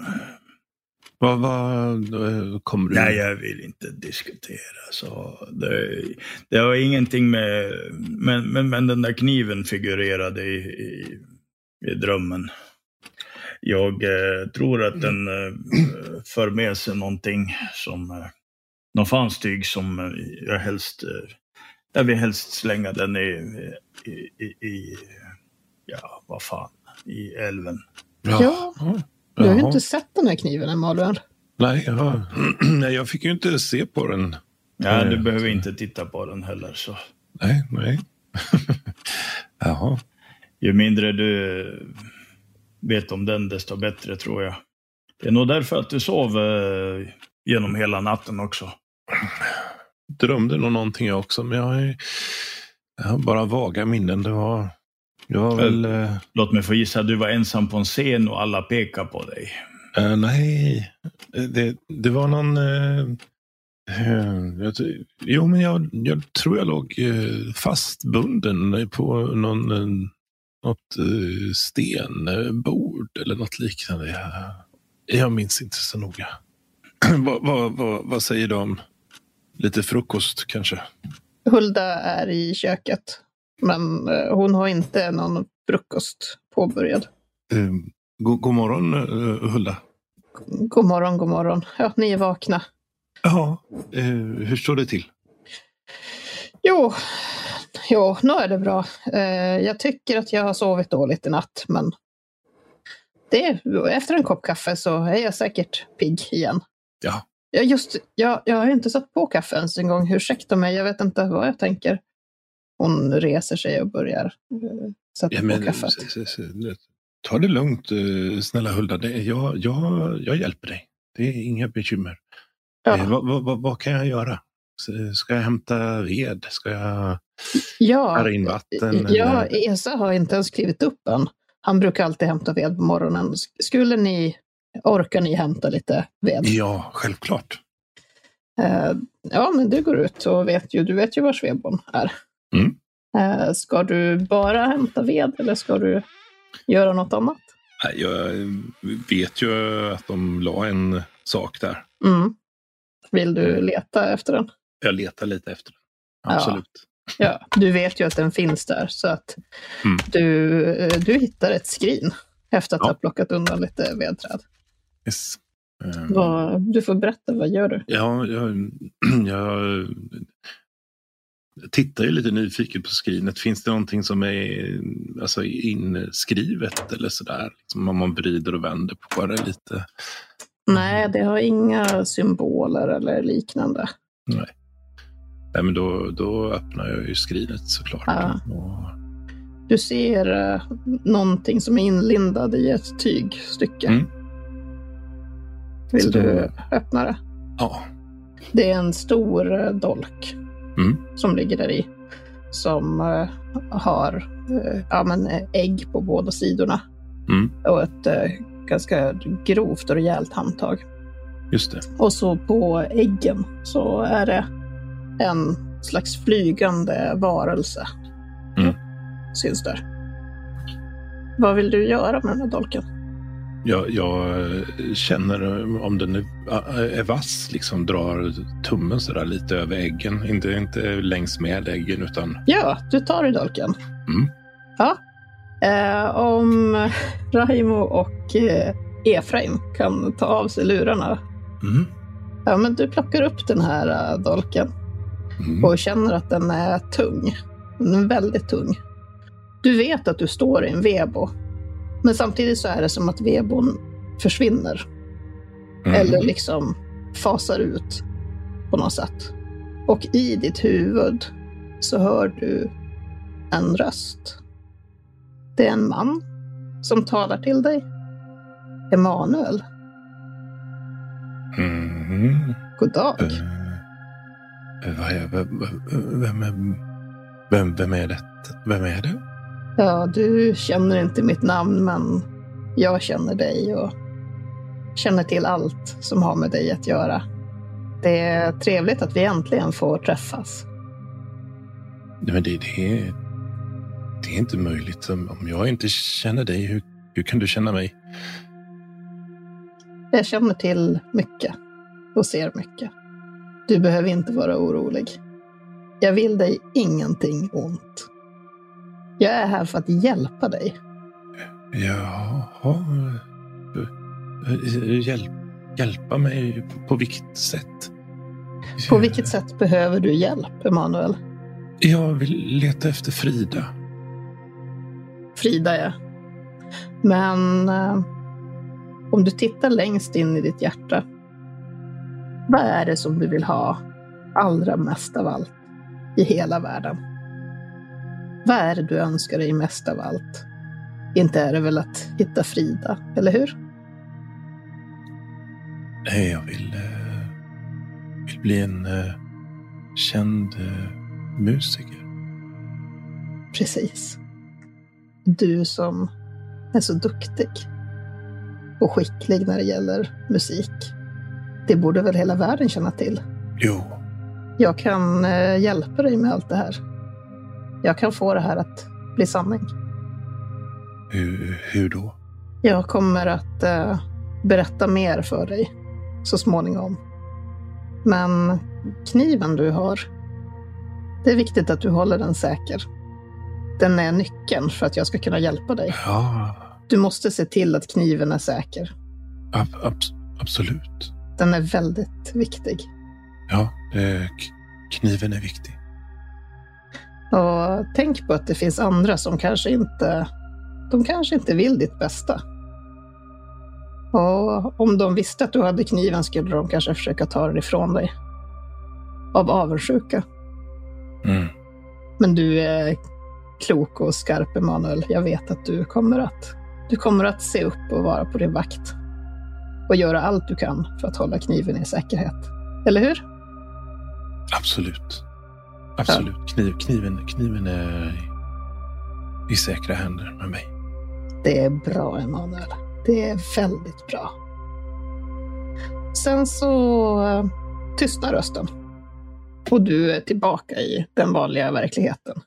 S2: Vad, vad eh, kommer du...
S1: Nej, jag vill inte diskutera. Så det, det har ingenting med... Men, men, men den där kniven figurerade i, i, i drömmen. Jag eh, tror att den eh, för med sig någonting som... Eh, någon fanstyg som eh, jag helst... Eh, jag vill helst slänga den i... i, i, i ja, vad fan. I älven.
S2: Ja.
S4: Ja. Du har ju inte sett den här kniven, Emanuel.
S2: Nej, ja. nej, jag fick ju inte se på den.
S1: Ja, du
S2: Eh,
S1: behöver inte titta på den heller. Så.
S2: Nej, nej. Jaha.
S1: Ju mindre du vet om den, desto bättre tror jag. Det är nog därför att du sov eh, genom hela natten också.
S2: Drömde nog någonting jag också, men jag har, ju- jag har bara vaga minnen. Det var, det var väl... eh,
S1: Låt mig få gissa, du var ensam på en scen och alla pekar på dig.
S2: eh, nej, det, det var någon... eh, eh, jag, tror- jo, men jag, jag tror jag låg eh, fastbunden på någon, eh, något eh, stenbord eller något liknande. Jag Jag minns inte så noga. vad, vad, vad, vad säger du om lite frukost kanske?
S4: Hulda är i köket, men eh, hon har inte någon frukost påbörjad.
S2: Um, go, god morgon eh, Hulda.
S4: God morgon, god morgon. Ja, ni är vakna.
S2: Ja, eh, hur står det till?
S4: Jo, jo nu är det bra. Eh, jag tycker att jag har sovit dåligt i natt, men det, efter en kopp kaffe så är jag säkert pigg igen.
S2: Ja.
S4: Ja, just jag, jag har ju inte satt på kaffe ens en gång. Ursäkta mig, jag vet inte vad jag tänker. Hon reser sig och börjar eh, sätta
S2: Ja,
S4: på
S2: men,
S4: kaffet.
S2: s- s- s- ta det lugnt eh, snälla Hulda. Det, jag, jag, jag hjälper dig. Det är inga bekymmer.
S4: Ja.
S2: Eh, vad, vad, vad, vad kan jag göra? S- Ska jag hämta ved? Ska jag
S4: Ja,
S2: hära in vatten?
S4: ja,
S2: eller?
S4: Esa har inte ens klivit upp än. Han brukar alltid hämta ved på morgonen. S- Skulle ni, orkar ni hämta lite ved?
S2: ja självklart.
S4: Eh, ja, men du går ut och vet ju, du vet ju var Svebon är.
S2: Mm.
S4: Eh, ska du bara hämta ved eller ska du göra något annat?
S2: Nej, Jag eh, vet ju att de la en sak där.
S4: Mm. Vill du leta efter den?
S2: Jag letar lite efter den.
S4: Ja.
S2: Absolut.
S4: Ja, du vet ju att den finns där så att
S2: Mm.
S4: du, eh, du hittar ett skrin efter att
S2: Ja.
S4: ha plockat undan lite vedträd.
S2: Yes. Eh,
S4: Vad, du får berätta, vad gör du?
S2: Ja, jag, jag tittar ju lite nyfiket på skrinet. Finns det någonting som är alltså, inskrivet eller sådär? Liksom om man vrider och vänder på det lite.
S4: Nej,
S2: Mm.
S4: det har inga symboler eller liknande.
S2: Nej, men då, då öppnar jag ju skrinet såklart.
S4: Ja.
S2: Och,
S4: Du ser eh, någonting som är inlindad i ett tygstycke.
S2: Mm.
S4: Vill
S2: Så då-
S4: du öppna det?
S2: ja.
S4: Det är en stor eh, dolk
S2: Mm.
S4: som ligger där i. Som eh, har eh, ja, men, eh, ägg på båda sidorna.
S2: Mm.
S4: Och ett eh, ganska grovt och rejält handtag.
S2: Just det.
S4: Och så på äggen så är det en slags flygande varelse.
S2: Mm.
S4: Syns där. Vad vill du göra med den här dolken?
S2: Jag, jag känner om den är, är vass, liksom drar tummen sådär lite över äggen. Inte, inte längs med äggen utan
S4: Ja, du tar i dolken.
S2: Mm.
S4: Ja. Eh, om Raimo och eh, Efraim kan ta av sig lurarna.
S1: Mhm.
S2: mm.
S4: Ja, men du plockar upp den här eh, dolken.
S2: Mm.
S4: och känner att den är tung. Den är väldigt tung. Du vet att du står i en vebo. Men samtidigt så är det som att vebon försvinner.
S2: Mm.
S4: Eller liksom fasar ut på något sätt. Och i ditt huvud så hör du en röst. Det är en man som talar till dig. Emanuel,
S2: Mm.
S4: god dag.
S2: Eh, vad är, vem, vem, är- vem, vem är det? Vem är det?
S4: Ja, du känner inte mitt namn, men jag känner dig och känner till allt som har med dig att göra. Det är trevligt att vi äntligen får träffas.
S2: Nej, men det, det, är, det är inte möjligt. Om om jag inte känner dig, hur, hur kan du känna mig?
S4: Jag känner till mycket och ser mycket. Du behöver inte vara orolig. Jag vill dig ingenting ont. Jag är här för att hjälpa dig.
S2: Jaha. Eh, eh, Hjälp, hjälpa mig på, på vilket sätt?
S4: På vilket sätt behöver du hjälp, Emanuel?
S2: Eh, Jag vill leta efter Frida.
S4: Frida ja. Men eh, om du tittar längst in i ditt hjärta. Vad är det som du vill ha allra mest av allt i hela världen? Vad är det du önskar dig mest av allt? Inte är det väl att hitta Frida, eller hur?
S2: Nej, jag vill, eh, vill bli en eh, känd eh, musiker.
S4: Precis. Du som är så duktig och skicklig när det gäller musik. Det borde väl hela världen känna till?
S2: Jo,
S4: Jag kan eh, hjälpa dig med allt det här. Jag kan få det här att bli sanning.
S2: hur, hur då?
S4: Jag kommer att eh, berätta mer för dig så småningom. Men kniven du har, det är viktigt att du håller den säker. Den är nyckeln för att jag ska kunna hjälpa dig.
S2: Ja,
S4: Du måste se till att kniven är säker.
S2: ab- abs- absolut.
S4: Den är väldigt viktig.
S2: Ja, eh, k- kniven är viktig.
S4: Och tänk på att det finns andra som kanske inte, de kanske inte vill ditt bästa. Och om de visste att du hade kniven skulle de kanske försöka ta den ifrån dig. Av avundsjuka.
S2: Mm.
S4: Men du är klok och skarp, Emanuel. Jag vet att du kommer att, du kommer att se upp och vara på din vakt. Och göra allt du kan för att hålla kniven i säkerhet. Eller hur?
S2: Absolut. Absolut. Kniv, kniven, kniven är i säkra händer med mig.
S4: Det är bra, Emanuel. Det är väldigt bra. Sen så eh, tystnar rösten. Och du är tillbaka i den vanliga verkligheten.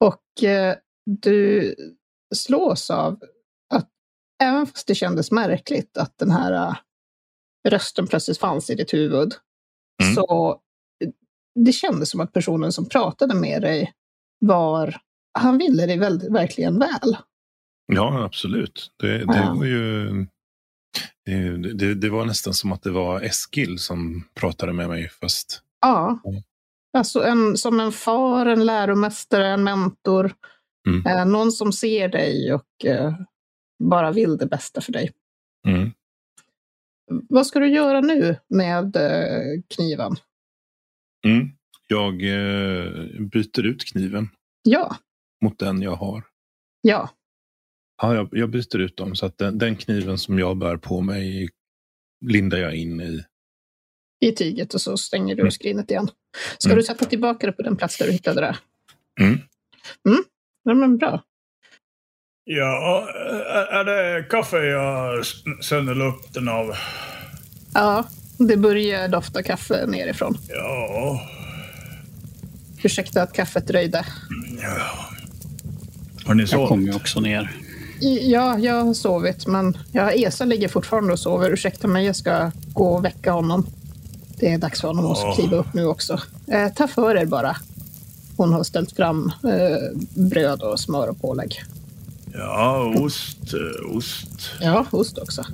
S4: Och eh, du slås av att även fast det kändes märkligt att den här eh, rösten plötsligt fanns i ditt huvud.
S2: Mm.
S4: Så eh, det kändes som att personen som pratade med dig var, han ville dig väldigt, verkligen väl.
S2: Ja, absolut. Det, det
S4: Ja.
S2: var ju... Det, det, det var nästan som att det var Eskil som pratade med mig. Fast
S4: Ja.
S2: Mm.
S4: Alltså en, som en far, en läromästare, en mentor.
S2: Mm.
S4: Eh, någon som ser dig och eh, bara vill det bästa för dig.
S2: mm.
S4: Vad ska du göra nu med eh, kniven?
S2: Mm. jag eh, byter ut kniven
S4: Ja,
S2: mot den jag har.
S4: ja,
S2: Ja, jag, jag byter ut dem så att den, den kniven som jag bär på mig lindar jag in i.
S4: i tyget och så stänger du
S2: Mm.
S4: skrinet igen. Ska
S2: Mm.
S4: du sätta tillbaka det på den plats där du hittade det?
S2: Mm.
S4: Mm. Ja, men bra.
S1: Ja, är- är det kaffe jag s- känner lukten av?
S4: Ja, det börjar dofta kaffe nerifrån.
S1: Ja,
S4: Ursäkta att kaffet dröjde.
S1: har ni
S3: Jag
S1: så?
S3: kom ju också ner.
S4: I- Ja, jag har sovit, men ja, Esa ligger fortfarande och sover. Ursäkta mig, jag ska gå och väcka honom. Det är dags för honom att
S1: Ja.
S4: kliva upp nu också. Eh, ta för er bara. Hon har ställt fram eh, bröd och smör och pålägg.
S1: Ja, ost, eh, ost.
S4: Ja, ost också.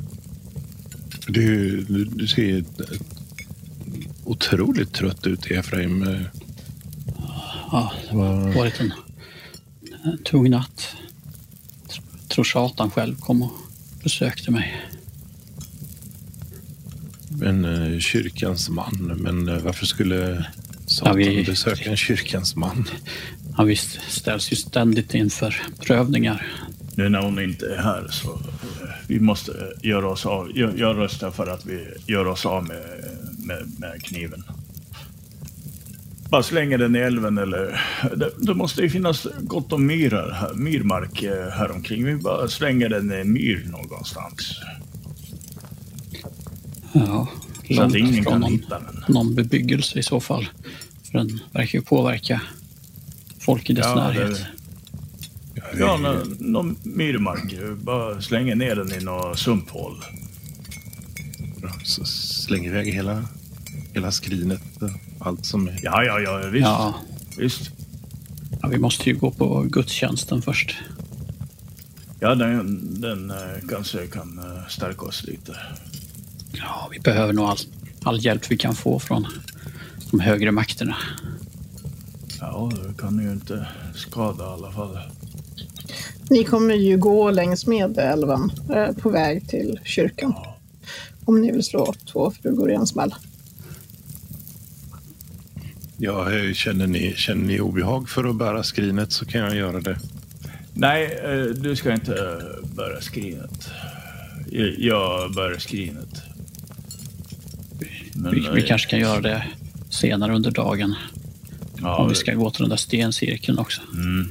S2: Du, du, du ser otroligt trött ut, Efraim. Eh,
S3: Ja, det har varit en, en tung natt. Tr- Tror satan själv kom och besökte mig.
S2: En eh, kyrkans man. Men eh, varför skulle Satan
S3: Ja, vi-
S2: besöka en kyrkans man?
S3: Han visst ställs ju ständigt inför prövningar.
S1: Nu när hon inte är här så eh, vi måste göra oss av. Jag, jag röstar för att vi gör oss av med, med, med kniven. Bara slänger den i älven eller... Det, det måste ju finnas gott om myrar, här- myrmark eh, här omkring. Vi bara slänger den i en myr någonstans.
S3: Ja,
S1: Så att ingen
S3: långt från
S1: kan
S3: någon,
S1: hitta den.
S3: någon bebyggelse i så fall. För den verkar ju påverka folk i dess
S1: Ja, det-
S3: närhet.
S1: Ja, nå- någon myrmark. eh, Bara slänger ner den i något sumphål.
S2: Så släng iväg hela, hela skrinet. eh, Allt som är...
S1: Ja, ja, ja, visst.
S3: Ja,
S1: visst.
S3: ja, vi måste ju gå på gudstjänsten först.
S1: Ja, den, den eh, kanske kan eh, stärka oss lite.
S3: Ja, vi behöver nog all, all hjälp vi kan få från de högre makterna.
S1: Ja, det kan ju inte skada i alla fall.
S4: Ni kommer ju gå längs med älven eh, på väg till kyrkan. Om ni vill slå två flugor i en smäll.
S2: Ja, eh, känner, ni, känner ni obehag för att bära skrinet så kan jag göra det.
S1: Nej, eh, du ska inte eh, bära skrinet. Jag- Jag bär skrinet. Men,
S3: Vi, vi
S1: eh,
S3: kanske kan göra det senare under dagen.
S1: ja,
S3: Om vi ska gå till den där stencirkeln också.
S1: mm.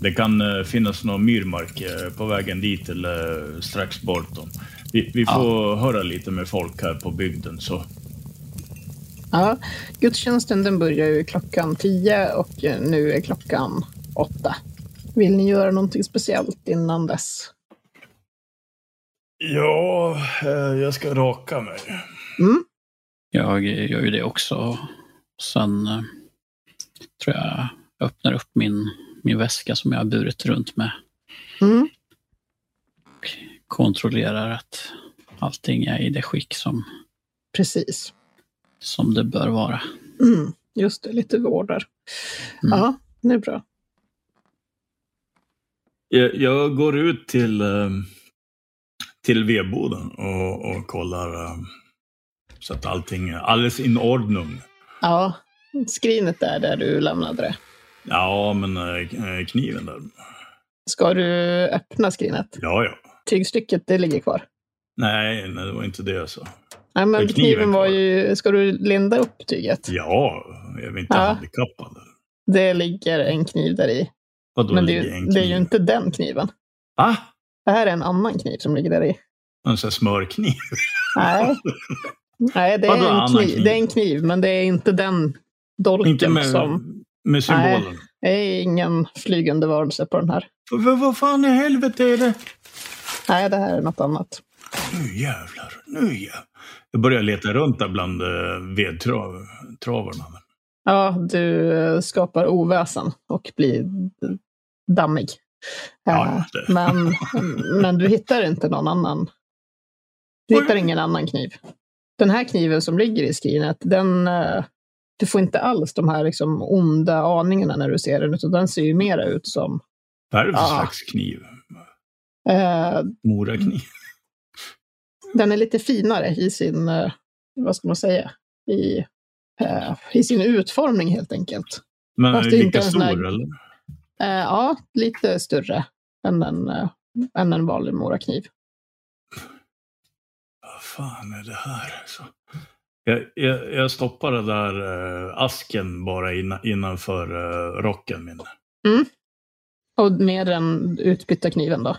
S1: Det kan eh, finnas någon myrmark eh, på vägen dit eller eh, strax bortom. Vi, vi
S3: Ja.
S1: får höra lite med folk här på bygden. Så.
S4: Ja, gudstjänsten den börjar ju klockan 10 och eh, nu är klockan 8. Vill ni göra någonting speciellt innan dess?
S1: Ja, eh, jag ska raka mig.
S3: Jag gör ju det också. Sen eh, tror jag öppnar upp min, min väska som jag har burit runt med.
S4: Mm.
S3: Kontrollerar att allting är i det skick som,
S4: Precis.
S3: som det bör vara.
S4: Mm. Just det, lite vård där.
S3: Mm.
S4: Ja, det är bra.
S1: Jag, jag går ut till, eh, till vedboden och, och kollar eh, så att allting är alldeles in ordnung.
S4: Ja, skrinet där, där du lämnade det.
S1: Ja, men eh, kniven där.
S4: Ska du öppna skrinet?
S1: Ja, ja.
S4: Tygstycket, det ligger kvar.
S1: Nej, nej, det var inte det jag sa.
S4: Nej, men
S1: Är
S4: kniven,
S1: kniven
S4: var
S1: kvar?
S4: ju... Ska du linda upp tyget?
S1: Ja, jag är inte
S4: Ja.
S1: handikappad.
S4: Det ligger en kniv där i.
S1: Vadå
S4: Men det är,
S1: ligger en
S4: ju,
S1: kniv?
S4: det är ju inte den kniven.
S1: Va?
S4: Det här är en annan kniv som ligger där i.
S1: En sån här smörkniv?
S4: Nej, Nej det,
S1: Vadå,
S4: är en
S1: annan
S4: kniv.
S1: kniv?
S4: det är en kniv, men det är inte den dolken
S1: Inte med,
S4: som...
S1: med symbolen?
S4: Det är ingen flygande varelse på den här.
S1: Vad, vad fan i helvete är det?
S4: Nej, det här är något annat.
S1: Nu jävlar, nu jävlar. Jag börjar leta runt där bland eh, vedtravarna.
S4: Ja, du eh, skapar oväsen och blir dammig.
S1: Ja,
S4: Eh,
S1: just det.
S4: men, men du hittar inte någon annan. Du hittar ingen annan kniv. Den här kniven som ligger i skrinet, den, eh, du får inte alls de här liksom onda aningarna när du ser den, utan den ser ju mera ut som
S1: Vad är det för
S4: Ah.
S1: slags kniv?
S4: eh,
S1: Morakniv?
S4: den är lite finare i sin, eh, vad ska man säga, i, eh, i sin utformning helt enkelt.
S1: Men
S4: Fast
S1: är
S4: det är inte
S1: lika
S4: en
S1: stor
S4: sån här-
S1: eller?
S4: Eh, ja, lite större än en, eh, än en vanlig morakniv.
S1: Vad fan är det här? Så. Jag, jag, jag stoppar den där eh, asken bara inna, innanför eh, rocken min.
S4: Och med den utbytta kniven då?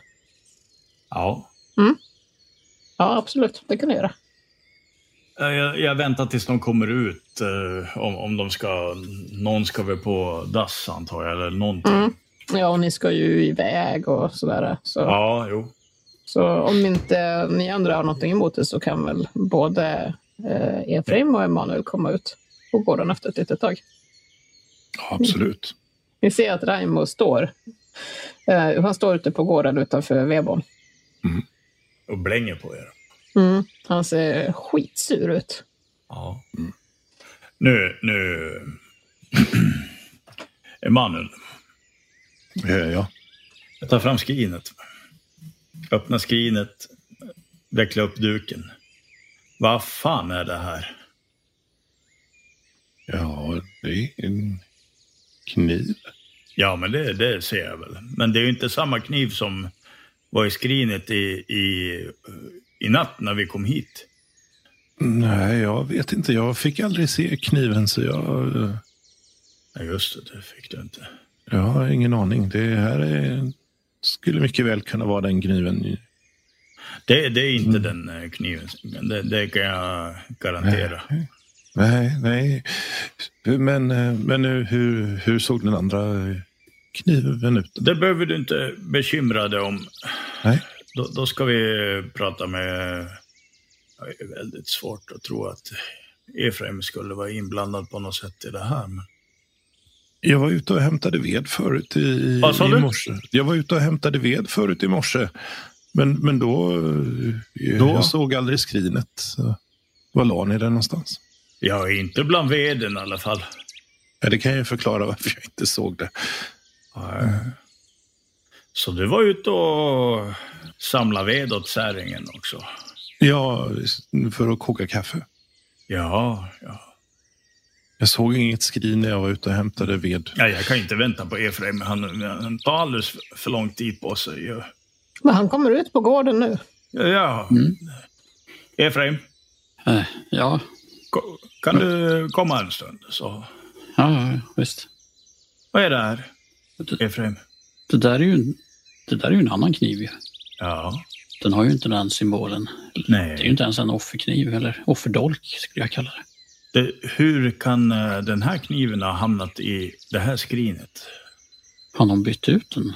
S1: Ja.
S4: Ja, absolut. Det kan du göra.
S1: Eh, Jag, jag väntar tills de kommer ut. Eh, om, om de ska... Någon ska väl på dass antar jag, eller någonting.
S4: Mm. Ja, och ni ska ju iväg och sådär. Så,
S1: Ja, jo.
S4: så om inte ni andra har någonting emot det så kan väl både eh, Efraim och Emanuel komma ut och gå den efter ett litet tag.
S2: Ja, absolut.
S4: Ni ser att Raimo står. Eh, han står ute på gården utanför Vebon.
S1: Och blänger på er.
S4: Mm. Han ser skitsur ut.
S1: Ja.
S4: Mm.
S1: Nu, nu... Emanuel,
S2: Ja, ja.
S1: jag tar fram skrinet. Öppna skrinet, veckla upp duken. Vad fan är det här?
S2: ja, det är en kniv.
S1: Ja, men det, det ser jag väl. Men det är ju inte samma kniv som var i skrinet i, i, i natt när vi kom hit.
S2: Nej, jag vet inte. Jag fick aldrig se kniven, så jag, eh,
S1: Nej, just det, det fick du inte.
S2: jag har ingen aning. Det här är, skulle mycket väl kunna vara den kniven.
S1: Det, det är inte den eh, kniven, men det, det kan jag garantera.
S2: Nej, nej. Men, eh, men hur, hur, hur såg den andra eh, kniven ut?
S1: Det behöver du inte bekymra dig om.
S2: Nej.
S1: Då, då ska vi prata med... Ja, Det är väldigt svårt att tro att Efraim skulle vara inblandad på något sätt i det här. Men...
S2: Jag var ute och hämtade ved förut i, i,
S1: Vad sa
S2: i
S1: du?
S2: morse. Jag var ute och hämtade ved förut i morse. Men, men då, eh,
S1: Då?
S2: Jag såg aldrig skrinet. Så, var la ni det någonstans?
S1: Jag är inte bland veden i alla fall.
S2: Ja, det kan ju förklara varför jag inte såg det.
S1: Mm. Så du var ute och samlade ved åt säringen också?
S2: Ja, för att koka kaffe.
S1: Ja, ja.
S2: Jag såg inget skrin när jag var ute och hämtade ved.
S1: ja jag kan ju inte vänta på Efraim. Han, han tar alldeles för lång tid på sig. Ja.
S4: Men han kommer ut på gården nu.
S1: ja. Efraim,
S3: Eh, Ja,
S1: ko- kan du komma en stund? Så.
S3: ja ja, visst.
S1: Vad är det här, Efraim?
S3: Det där är ju, en- det där är ju en annan kniv ju.
S1: Ja.
S3: Den har ju inte den symbolen. Det är ju
S1: Nej.
S3: inte ens en offerkniv eller offerdolk skulle jag kalla det.
S1: Det, hur kan eh, den här kniven ha hamnat i det här skrinet?
S3: Har någon bytt ut den?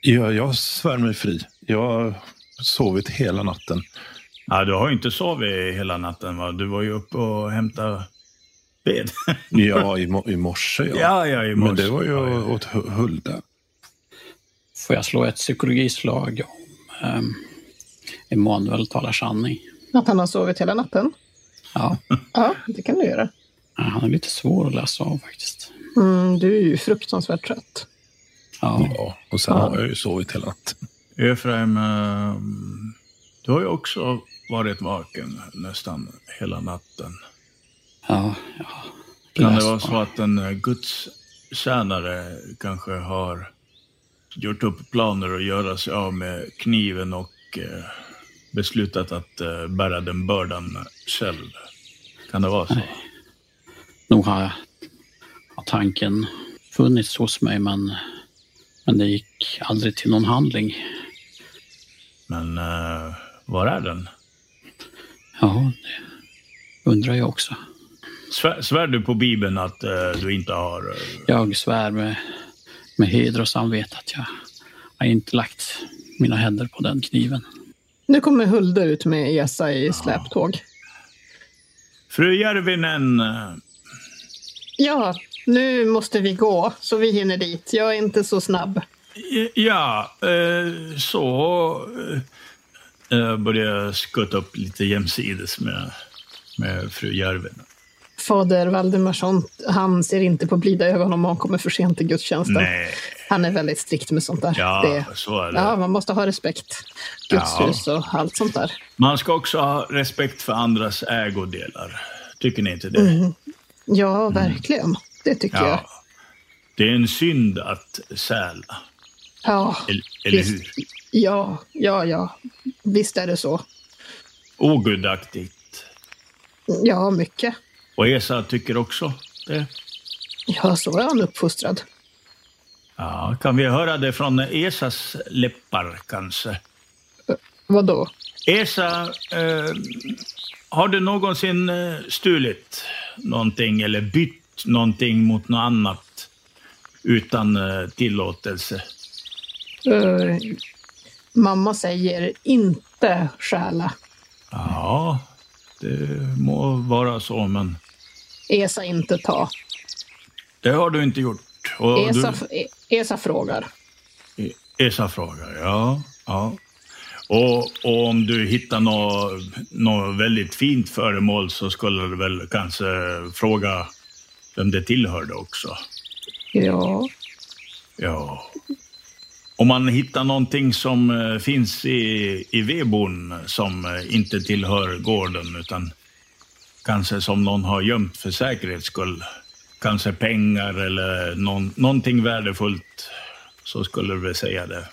S2: Ja, jag svär mig fri. Jag sovit hela natten.
S1: Ja, du har ju inte sovit hela natten va? Du var ju uppe och hämtade ved.
S2: Ja, i, mo- i morse ja.
S1: ja, ja, i morse.
S2: Men det var ju åt Hu- Hulda.
S3: Får jag slå ett psykologislag om um, Emanuel talar sanning?
S4: Att han har sovit hela natten?
S3: Ja,
S4: Ja, det kan du göra.
S3: Ja, han är lite svår att läsa av faktiskt.
S4: Mm, du är ju fruktansvärt trött.
S1: Mm.
S3: Ja,
S2: Ja, och sen har jag ju sovit hela natten.
S1: Efraim, eh, du har ju också varit vaken nästan hela natten.
S3: ja, ja.
S1: Kan det
S3: Läs
S1: vara
S3: bara.
S1: så att en eh, gudstjänare kanske har gjort upp planer att göra sig av med kniven och eh, beslutat att eh, bära den bördan själv? Kan det vara så?
S3: Nog har, har tanken funnits hos mig, men, men det gick aldrig till någon handling.
S1: Men eh, var är den?
S3: Ja, det undrar jag också.
S1: Svär, svär du på Bibeln att eh, du inte har... eh,
S3: Jag svär med, med heder och samvete att jag har inte lagt mina händer på den kniven.
S4: Nu kommer Hulda ut med Esa i släptåg.
S1: Fru Järvinen, eh,
S4: Ja, nu måste vi gå så vi hinner dit. Jag är inte så snabb.
S1: Ja, eh, så eh, jag började skutta upp lite jämsides med, med fru Järven.
S4: Fader Valdemarsson, han ser inte på blida ögon om han kommer för sent till gudstjänsten.
S1: Nej,
S4: Han är väldigt strikt med sånt där.
S1: ja,
S4: Det-
S1: så är det.
S4: ja man måste ha respekt. Guds
S1: Ja.
S4: hus och allt sånt där.
S1: Man ska också ha respekt för andras ägodelar. Tycker ni inte det?
S4: Ja, verkligen. Det tycker jag.
S1: Mm. Ja. Det är en synd att stjäla,
S4: Ja,
S1: eller, eller
S4: Visst.
S1: hur?
S4: ja, ja, ja. Visst är det så.
S1: Ogudaktigt.
S4: Ja, mycket.
S1: Och Esa tycker också det.
S4: Ja, så är han uppfostrad.
S1: Ja, kan vi höra det från Esas läppar kanske?
S4: Vadå?
S1: Esa, eh, har du någonsin eh, stulit någonting eller bytt någonting mot något annat utan eh, tillåtelse?
S4: Eh, mamma säger inte stjäla.
S1: Ja, det må vara så, men
S4: Esa inte ta.
S1: det har du inte gjort. Och
S4: Esa, E- Esa frågar.
S1: du, Esa frågar, ja. ja. Och, och om du hittar något, något väldigt fint föremål så skulle du väl kanske fråga vem det tillhörde också.
S4: Ja,
S1: Ja. Om man hittar någonting som eh, finns i, i vedboden som eh, inte tillhör gården utan kanske som någon har gömt för säkerhets skull. Kanske pengar eller någon, någonting värdefullt. Så skulle du väl säga det.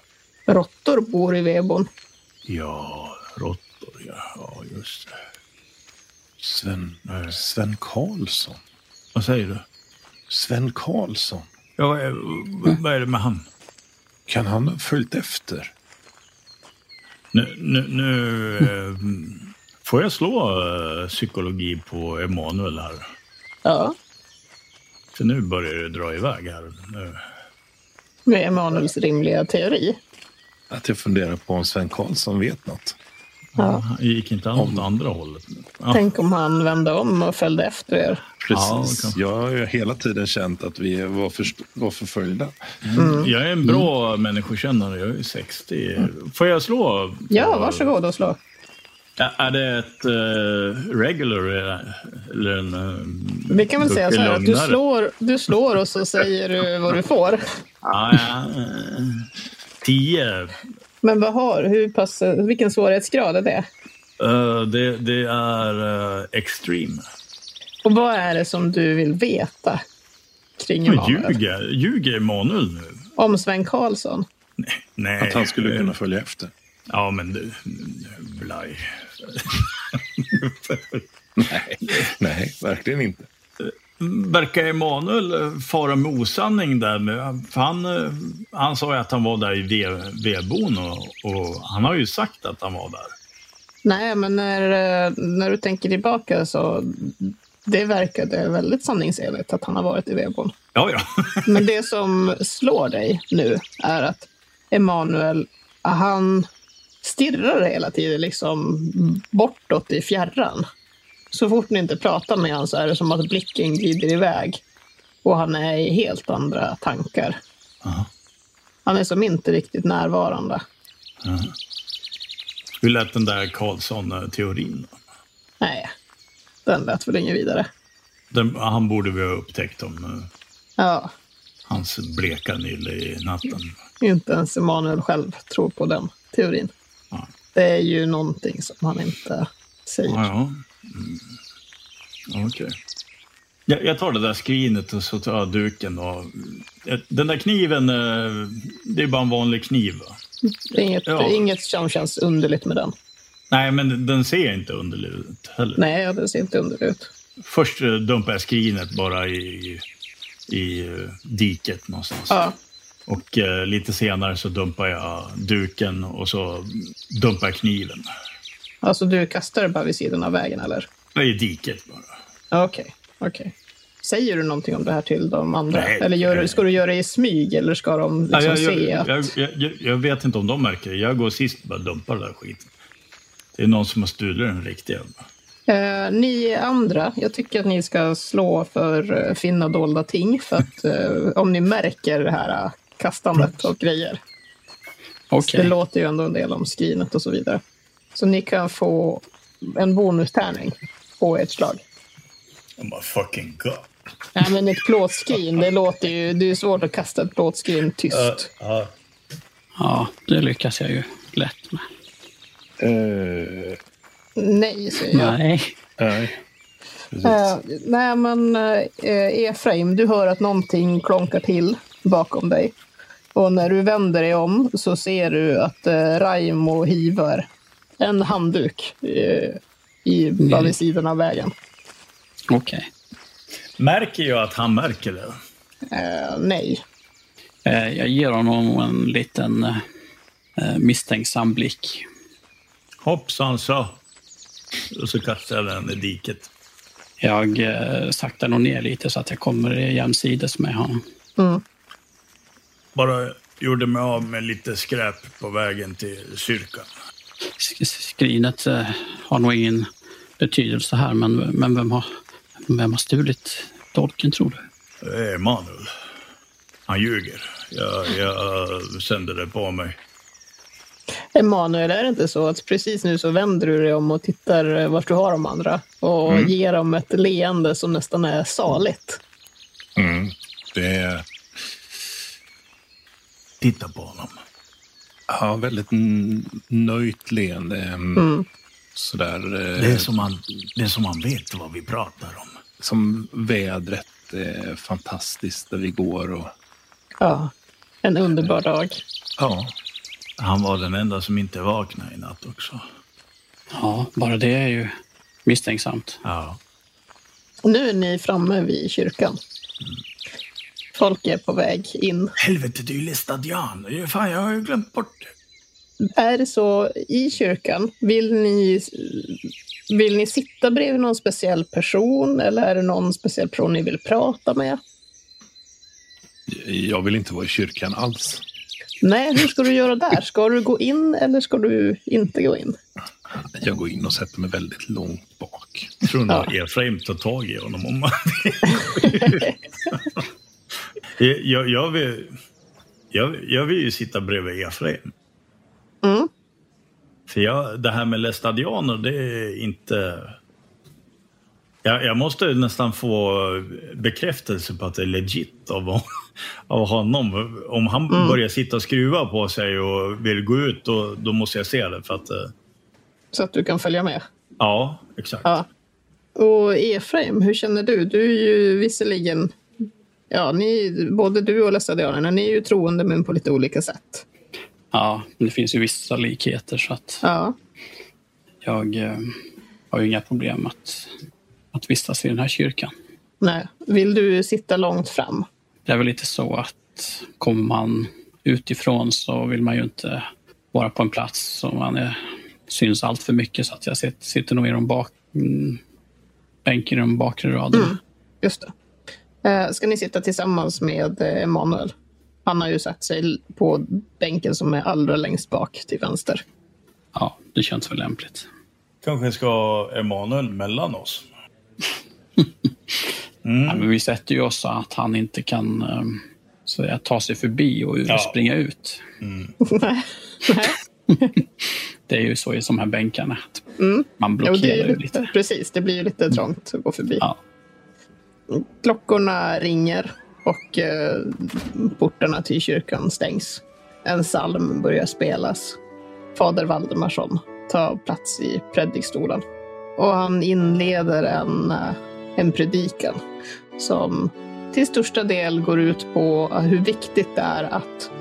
S4: råttor bor i vebon.
S1: Ja, råttor ja. ja just det.
S2: Sven, eh, Sven Karlsson.
S1: Vad säger du?
S2: Sven Karlsson.
S1: Ja, vad, är, vad är det med han?
S2: Kan han ha följt efter?
S1: Nu, nu, nu eh, får jag slå eh, psykologi på Emanuel här.
S4: Ja,
S1: För nu börjar det dra iväg här. Nu.
S4: med Emanuels rimliga teori.
S2: Att jag funderar på om Sven Karlsson vet något.
S4: Ja.
S1: Han gick inte han åt andra hållet? Ja.
S4: Tänk om han vände om och följde efter er.
S2: Precis.
S1: Ja, okej.
S2: jag har ju hela tiden känt att vi var, för, var förföljda.
S1: Jag är en bra människokännare, jag är 60. Får jag slå?
S4: Ja, varsågod och slå.
S1: Ä- Är det ett eh, regular eh, eller en... eh,
S4: Vi kan väl säga så här att du
S1: lugnare?
S4: slår, du slår och så säger du vad du får.
S1: Ja, ja, eh, tio.
S4: Men vad har, hur pass, vilken svårighetsgrad är det?
S1: Eh, det, det är eh, extreme.
S4: Och vad är det som du vill veta kring
S1: Men
S4: Emanuel?
S1: ljuger, ljuger Emanuel nu?
S4: Om Sven Karlsson?
S1: Nej.
S2: Att han skulle kunna följa efter.
S1: Ja, men du... Blaj.
S2: Nej, verkligen inte.
S1: Verkar Emanuel eh, fara med osanning där? men För han, eh, han sa ju att han var där i ve- vedbon och, och han har ju sagt att han var där.
S4: Nej, men när, eh, när du tänker tillbaka så det verkade väldigt sanningsenligt att han har varit i Vebon.
S1: Ja, ja.
S4: Men det som slår dig nu är att Emanuel, han stirrar hela tiden liksom bortåt i fjärran. Så fort ni inte pratar med honom så är det som att blicken glider iväg och han är i helt andra tankar.
S1: Aha.
S4: Han är som inte riktigt närvarande.
S1: Hur lät den där Karlsson-teorin?
S4: Nej, den lät väl inget vidare.
S1: Den, han borde vi ha upptäckt om eh,
S4: Ja,
S1: hans bleka nylle i natten.
S4: inte ens Emanuel själv tror på den teorin.
S1: Ja.
S4: Det är ju någonting som han inte säger.
S1: Ja, ja. Mm. Okej. Jag, jag tar det där skrinet och så tar jag duken. Och, den där kniven, eh, det är bara en vanlig kniv. Va?
S4: Det är inget,
S1: Ja.
S4: inget som känns underligt med den.
S1: Nej, men den ser inte underlig ut heller.
S4: Nej, det ser inte underligt ut.
S1: Först eh, dumpar jag skrinet bara i, i eh, diket någonstans.
S4: Ja,
S1: Och eh, lite senare så dumpar jag duken och så dumpar jag kniven.
S4: alltså du kastar det bara vid sidan av vägen eller?
S1: Nej, I diket bara.
S4: Ja, Okej, okej. Säger du någonting om det här till de andra?
S1: Nej.
S4: eller gör, du- ska du göra det i smyg eller ska de liksom
S1: Nej, jag,
S4: se
S1: jag,
S4: att...
S1: jag, jag, jag, jag vet inte om de märker det. Jag går sist och bara dumpar den där skiten. Det är någon som har stulit den riktiga.
S4: Eh, ni andra, jag tycker att ni ska slå för eh, finna dolda ting. För att eh, om ni märker det här eh, kastandet av grejer.
S3: Okej.
S4: Det låter ju ändå en del om skrinet och så vidare. Så ni kan få en bonustärning på ert slag.
S1: Oh my fucking god.
S4: Nej, men ett plåtskrin, det låter ju... Det är ju svårt att kasta ett plåtskrin tyst.
S3: Ja, det lyckas jag ju lätt med.
S2: Eh,
S4: Nej, säger jag.
S3: Nej.
S2: nej. Precis.
S4: Eh, nej, men eh, Efraim, du hör att någonting klonkar till bakom dig. Och när du vänder dig om så ser du att eh, Raimo hivar en handduk eh, i, bara vid sidan av vägen.
S3: Okej.
S1: Märker jag att han märker det?
S4: Eh, nej.
S3: Eh, Jag ger honom en liten eh, eh, misstänksam blick.
S1: Hoppsan så. Och så kastar jag den i diket.
S3: Jag eh, saktar nog ner lite så att jag kommer jämsides med honom.
S1: Bara gjorde mig av med lite skräp på vägen till kyrkan.
S3: Sk- Skrinet eh, har nog ingen betydelse här, men, men vem, har, vem har stulit dolken tror du?
S1: Det är Emanuel. Han ljuger. Jag, jag sänder det på mig.
S4: Emanuel, är det inte så att precis nu så vänder du dig om och tittar eh, vart du har de andra och ger dem ett leende som nästan är saligt?
S2: Mm. Det är
S1: Titta på honom.
S2: ja, väldigt n- nöjt leende. ehm,
S4: Mm.
S2: Sådär, eh,
S1: Det är som han, det är som han vet vad vi pratar om.
S2: som vädret är fantastiskt där vi går. Och,
S4: Ja, en underbar dag.
S2: ja,
S1: Han var den enda som inte vaknade i natt också.
S3: Ja, bara det är ju misstänksamt.
S1: Ja.
S4: Nu är ni framme vid kyrkan. Folk är på väg in.
S1: Helvete, det är ju Lestadian. Fan, jag har ju glömt bort det.
S4: Är det så i kyrkan, vill ni, vill ni sitta bredvid någon speciell person eller är det någon speciell person ni vill prata med?
S2: jag vill inte vara i kyrkan alls.
S4: Nej, hur ska du göra där? Ska du gå in eller ska du inte gå in?
S2: Jag går in och sätter mig väldigt långt bak.
S1: Tror nog Efraim tar tag i honom om han Eh, jag, jag, vill, jag, jag vill ju sitta bredvid Efraim.
S4: Mm.
S1: För jag, det här med lestadianer, det är inte... Jag, jag måste nästan få bekräftelse på att det är legit av, av honom. Om han börjar sitta och skruva på sig och vill gå ut, då, då måste jag se det. För att, eh,
S4: Så att du kan följa med.
S1: ja, exakt.
S4: Ja. Och Efraim, hur känner du? Du är ju visserligen, ja, ni, både du och Lestadianerna, ni är ju troende men på lite olika sätt.
S3: Ja, men det finns ju vissa likheter så att
S4: Ja.
S3: jag eh, har ju inga problem att, att vistas i den här kyrkan.
S4: Nej. Vill du sitta långt fram?
S3: Det är väl lite så att kommer man utifrån så vill man ju inte vara på en plats som man är, syns allt för mycket. Så att jag sit- sitter nog i de bak, mm, bänken i de bakre raderna.
S4: Mm. Just det. Eh, Ska ni sitta tillsammans med eh, Emanuel? Han har ju satt sig på bänken som är allra längst bak till vänster.
S3: Ja, det känns väl lämpligt.
S1: Kanske ska Emanuel mellan oss?
S3: Nej, men vi sätter ju oss så att han inte kan ehm, så att säga, ta sig förbi och
S1: Ja.
S3: springa ut.
S4: Nej. Nej.
S3: Det är ju så i de här bänkarna. Att Man
S4: Jo, det
S3: blockerar
S4: är
S3: ju
S4: ju
S3: lite. Mm.
S4: lite, precis, det blir ju lite trångt att gå förbi.
S3: Ja.
S4: Klockorna ringer och eh, portarna till kyrkan stängs. En psalm börjar spelas. Fader Valdemarsson tar plats i predikstolen. Och han inleder en, eh, en predikan som till största del går ut på hur viktigt det är att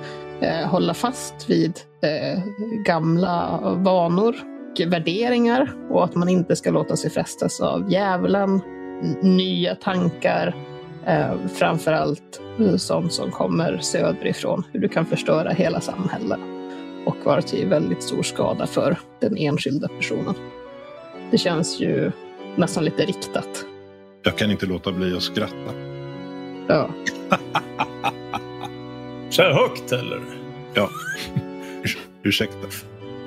S4: eh, hålla fast vid eh, gamla vanor och värderingar och att man inte ska låta sig frestas av djävulen n- nya tankar. Eh, framförallt eh, sånt som kommer söderifrån. Hur du kan förstöra hela samhället och vara till väldigt stor skada för den enskilda personen. Det känns ju nästan lite riktat.
S2: Jag kan inte låta bli att skratta.
S4: Ja.
S1: Så här högt eller?
S2: Ursäkta.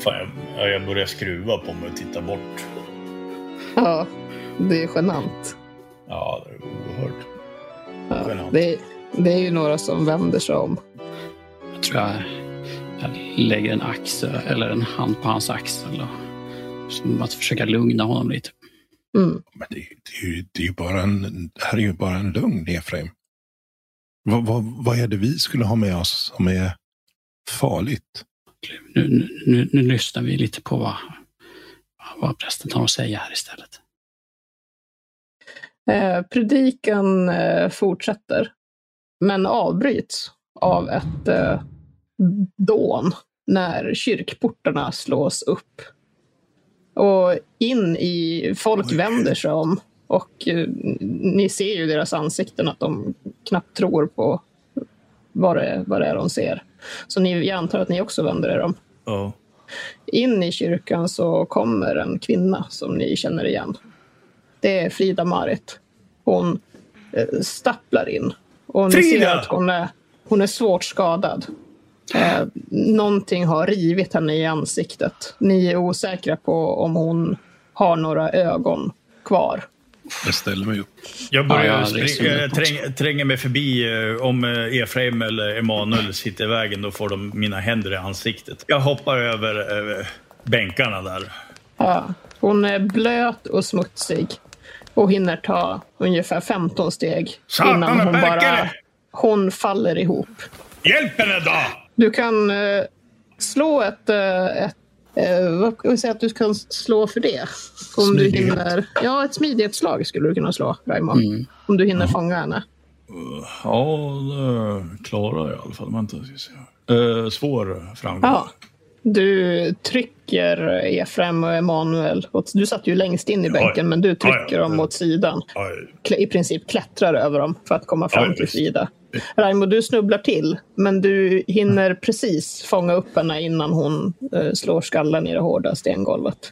S1: Fan, jag, jag börjar skruva på mig och titta bort.
S4: ja, det är genant.
S1: Ja, det är oerhört.
S4: Ja.
S1: Genant.
S4: Det, det är ju några som vänder sig om.
S3: Jag tror jag, jag lägger en axel eller en hand på hans axel. Och, som att försöka lugna honom lite.
S4: Mm.
S2: Men det, det, är ju- det, är ju bara en, det här är ju bara en lögn, Efraim. Vad, vad, vad är det vi skulle ha med oss som är farligt?
S3: Nu, nu, nu, nu lyssnar vi lite på vad, vad prästen har att säga här istället.
S4: Eh, predikan eh, fortsätter, men avbryts av ett eh, dån när kyrkportarna slås upp. Och in i, folk vänder sig om och eh, ni ser ju deras ansikten att de knappt tror på vad det, vad det är de ser. Så ni, jag antar att ni också vänder er om.
S1: Ja.
S4: In i kyrkan så kommer en kvinna som ni känner igen. Det är Frida Marit. Hon eh, stapplar in. Och ni
S1: Frida!
S4: ser att hon är, hon är svårt skadad. Eh, någonting har rivit henne i ansiktet. Ni är osäkra på om hon har några ögon kvar.
S2: Jag ställer mig upp.
S1: Jag börjar
S3: Ja, jag reser
S1: springa,
S3: mig
S1: jag
S3: uppåt.
S1: träng, tränger mig förbi. eh, Om eh, Efraim eller Emanuel sitter i vägen, då får de mina händer i ansiktet. Jag hoppar över eh, bänkarna där.
S4: Ja, hon är blöt och smutsig och hinner ta ungefär 15 steg
S1: Satan,
S4: innan hon
S1: vad
S4: bara
S1: verkar
S4: hon faller ihop.
S1: Hjälp henne då!
S4: Du kan eh, slå ett... eh, ett eh, vad kan vi säga att du kan slå för det? Om du
S2: Smidighet.
S4: hinner, ja, ett smidighetsslag skulle du kunna slå, Raymond.
S1: Mm.
S4: Om du hinner fånga henne.
S1: Ja, det klarar jag i alla fall. Vänta, ska se. Uh, svår framgång.
S4: Ja. Du trycker Efraim och Emanuel. åt- Du satt ju längst in i bänken, men du trycker
S1: Ja, ja.
S4: dem åt sidan.
S1: Oj.
S4: Kl- I princip klättrar över dem för att komma fram
S1: Ja,
S4: till
S1: visst.
S4: Frida. Raimo, du snubblar till, men du hinner
S1: Mm.
S4: precis fånga upp henne innan hon eh, slår skallen i det hårda stengolvet.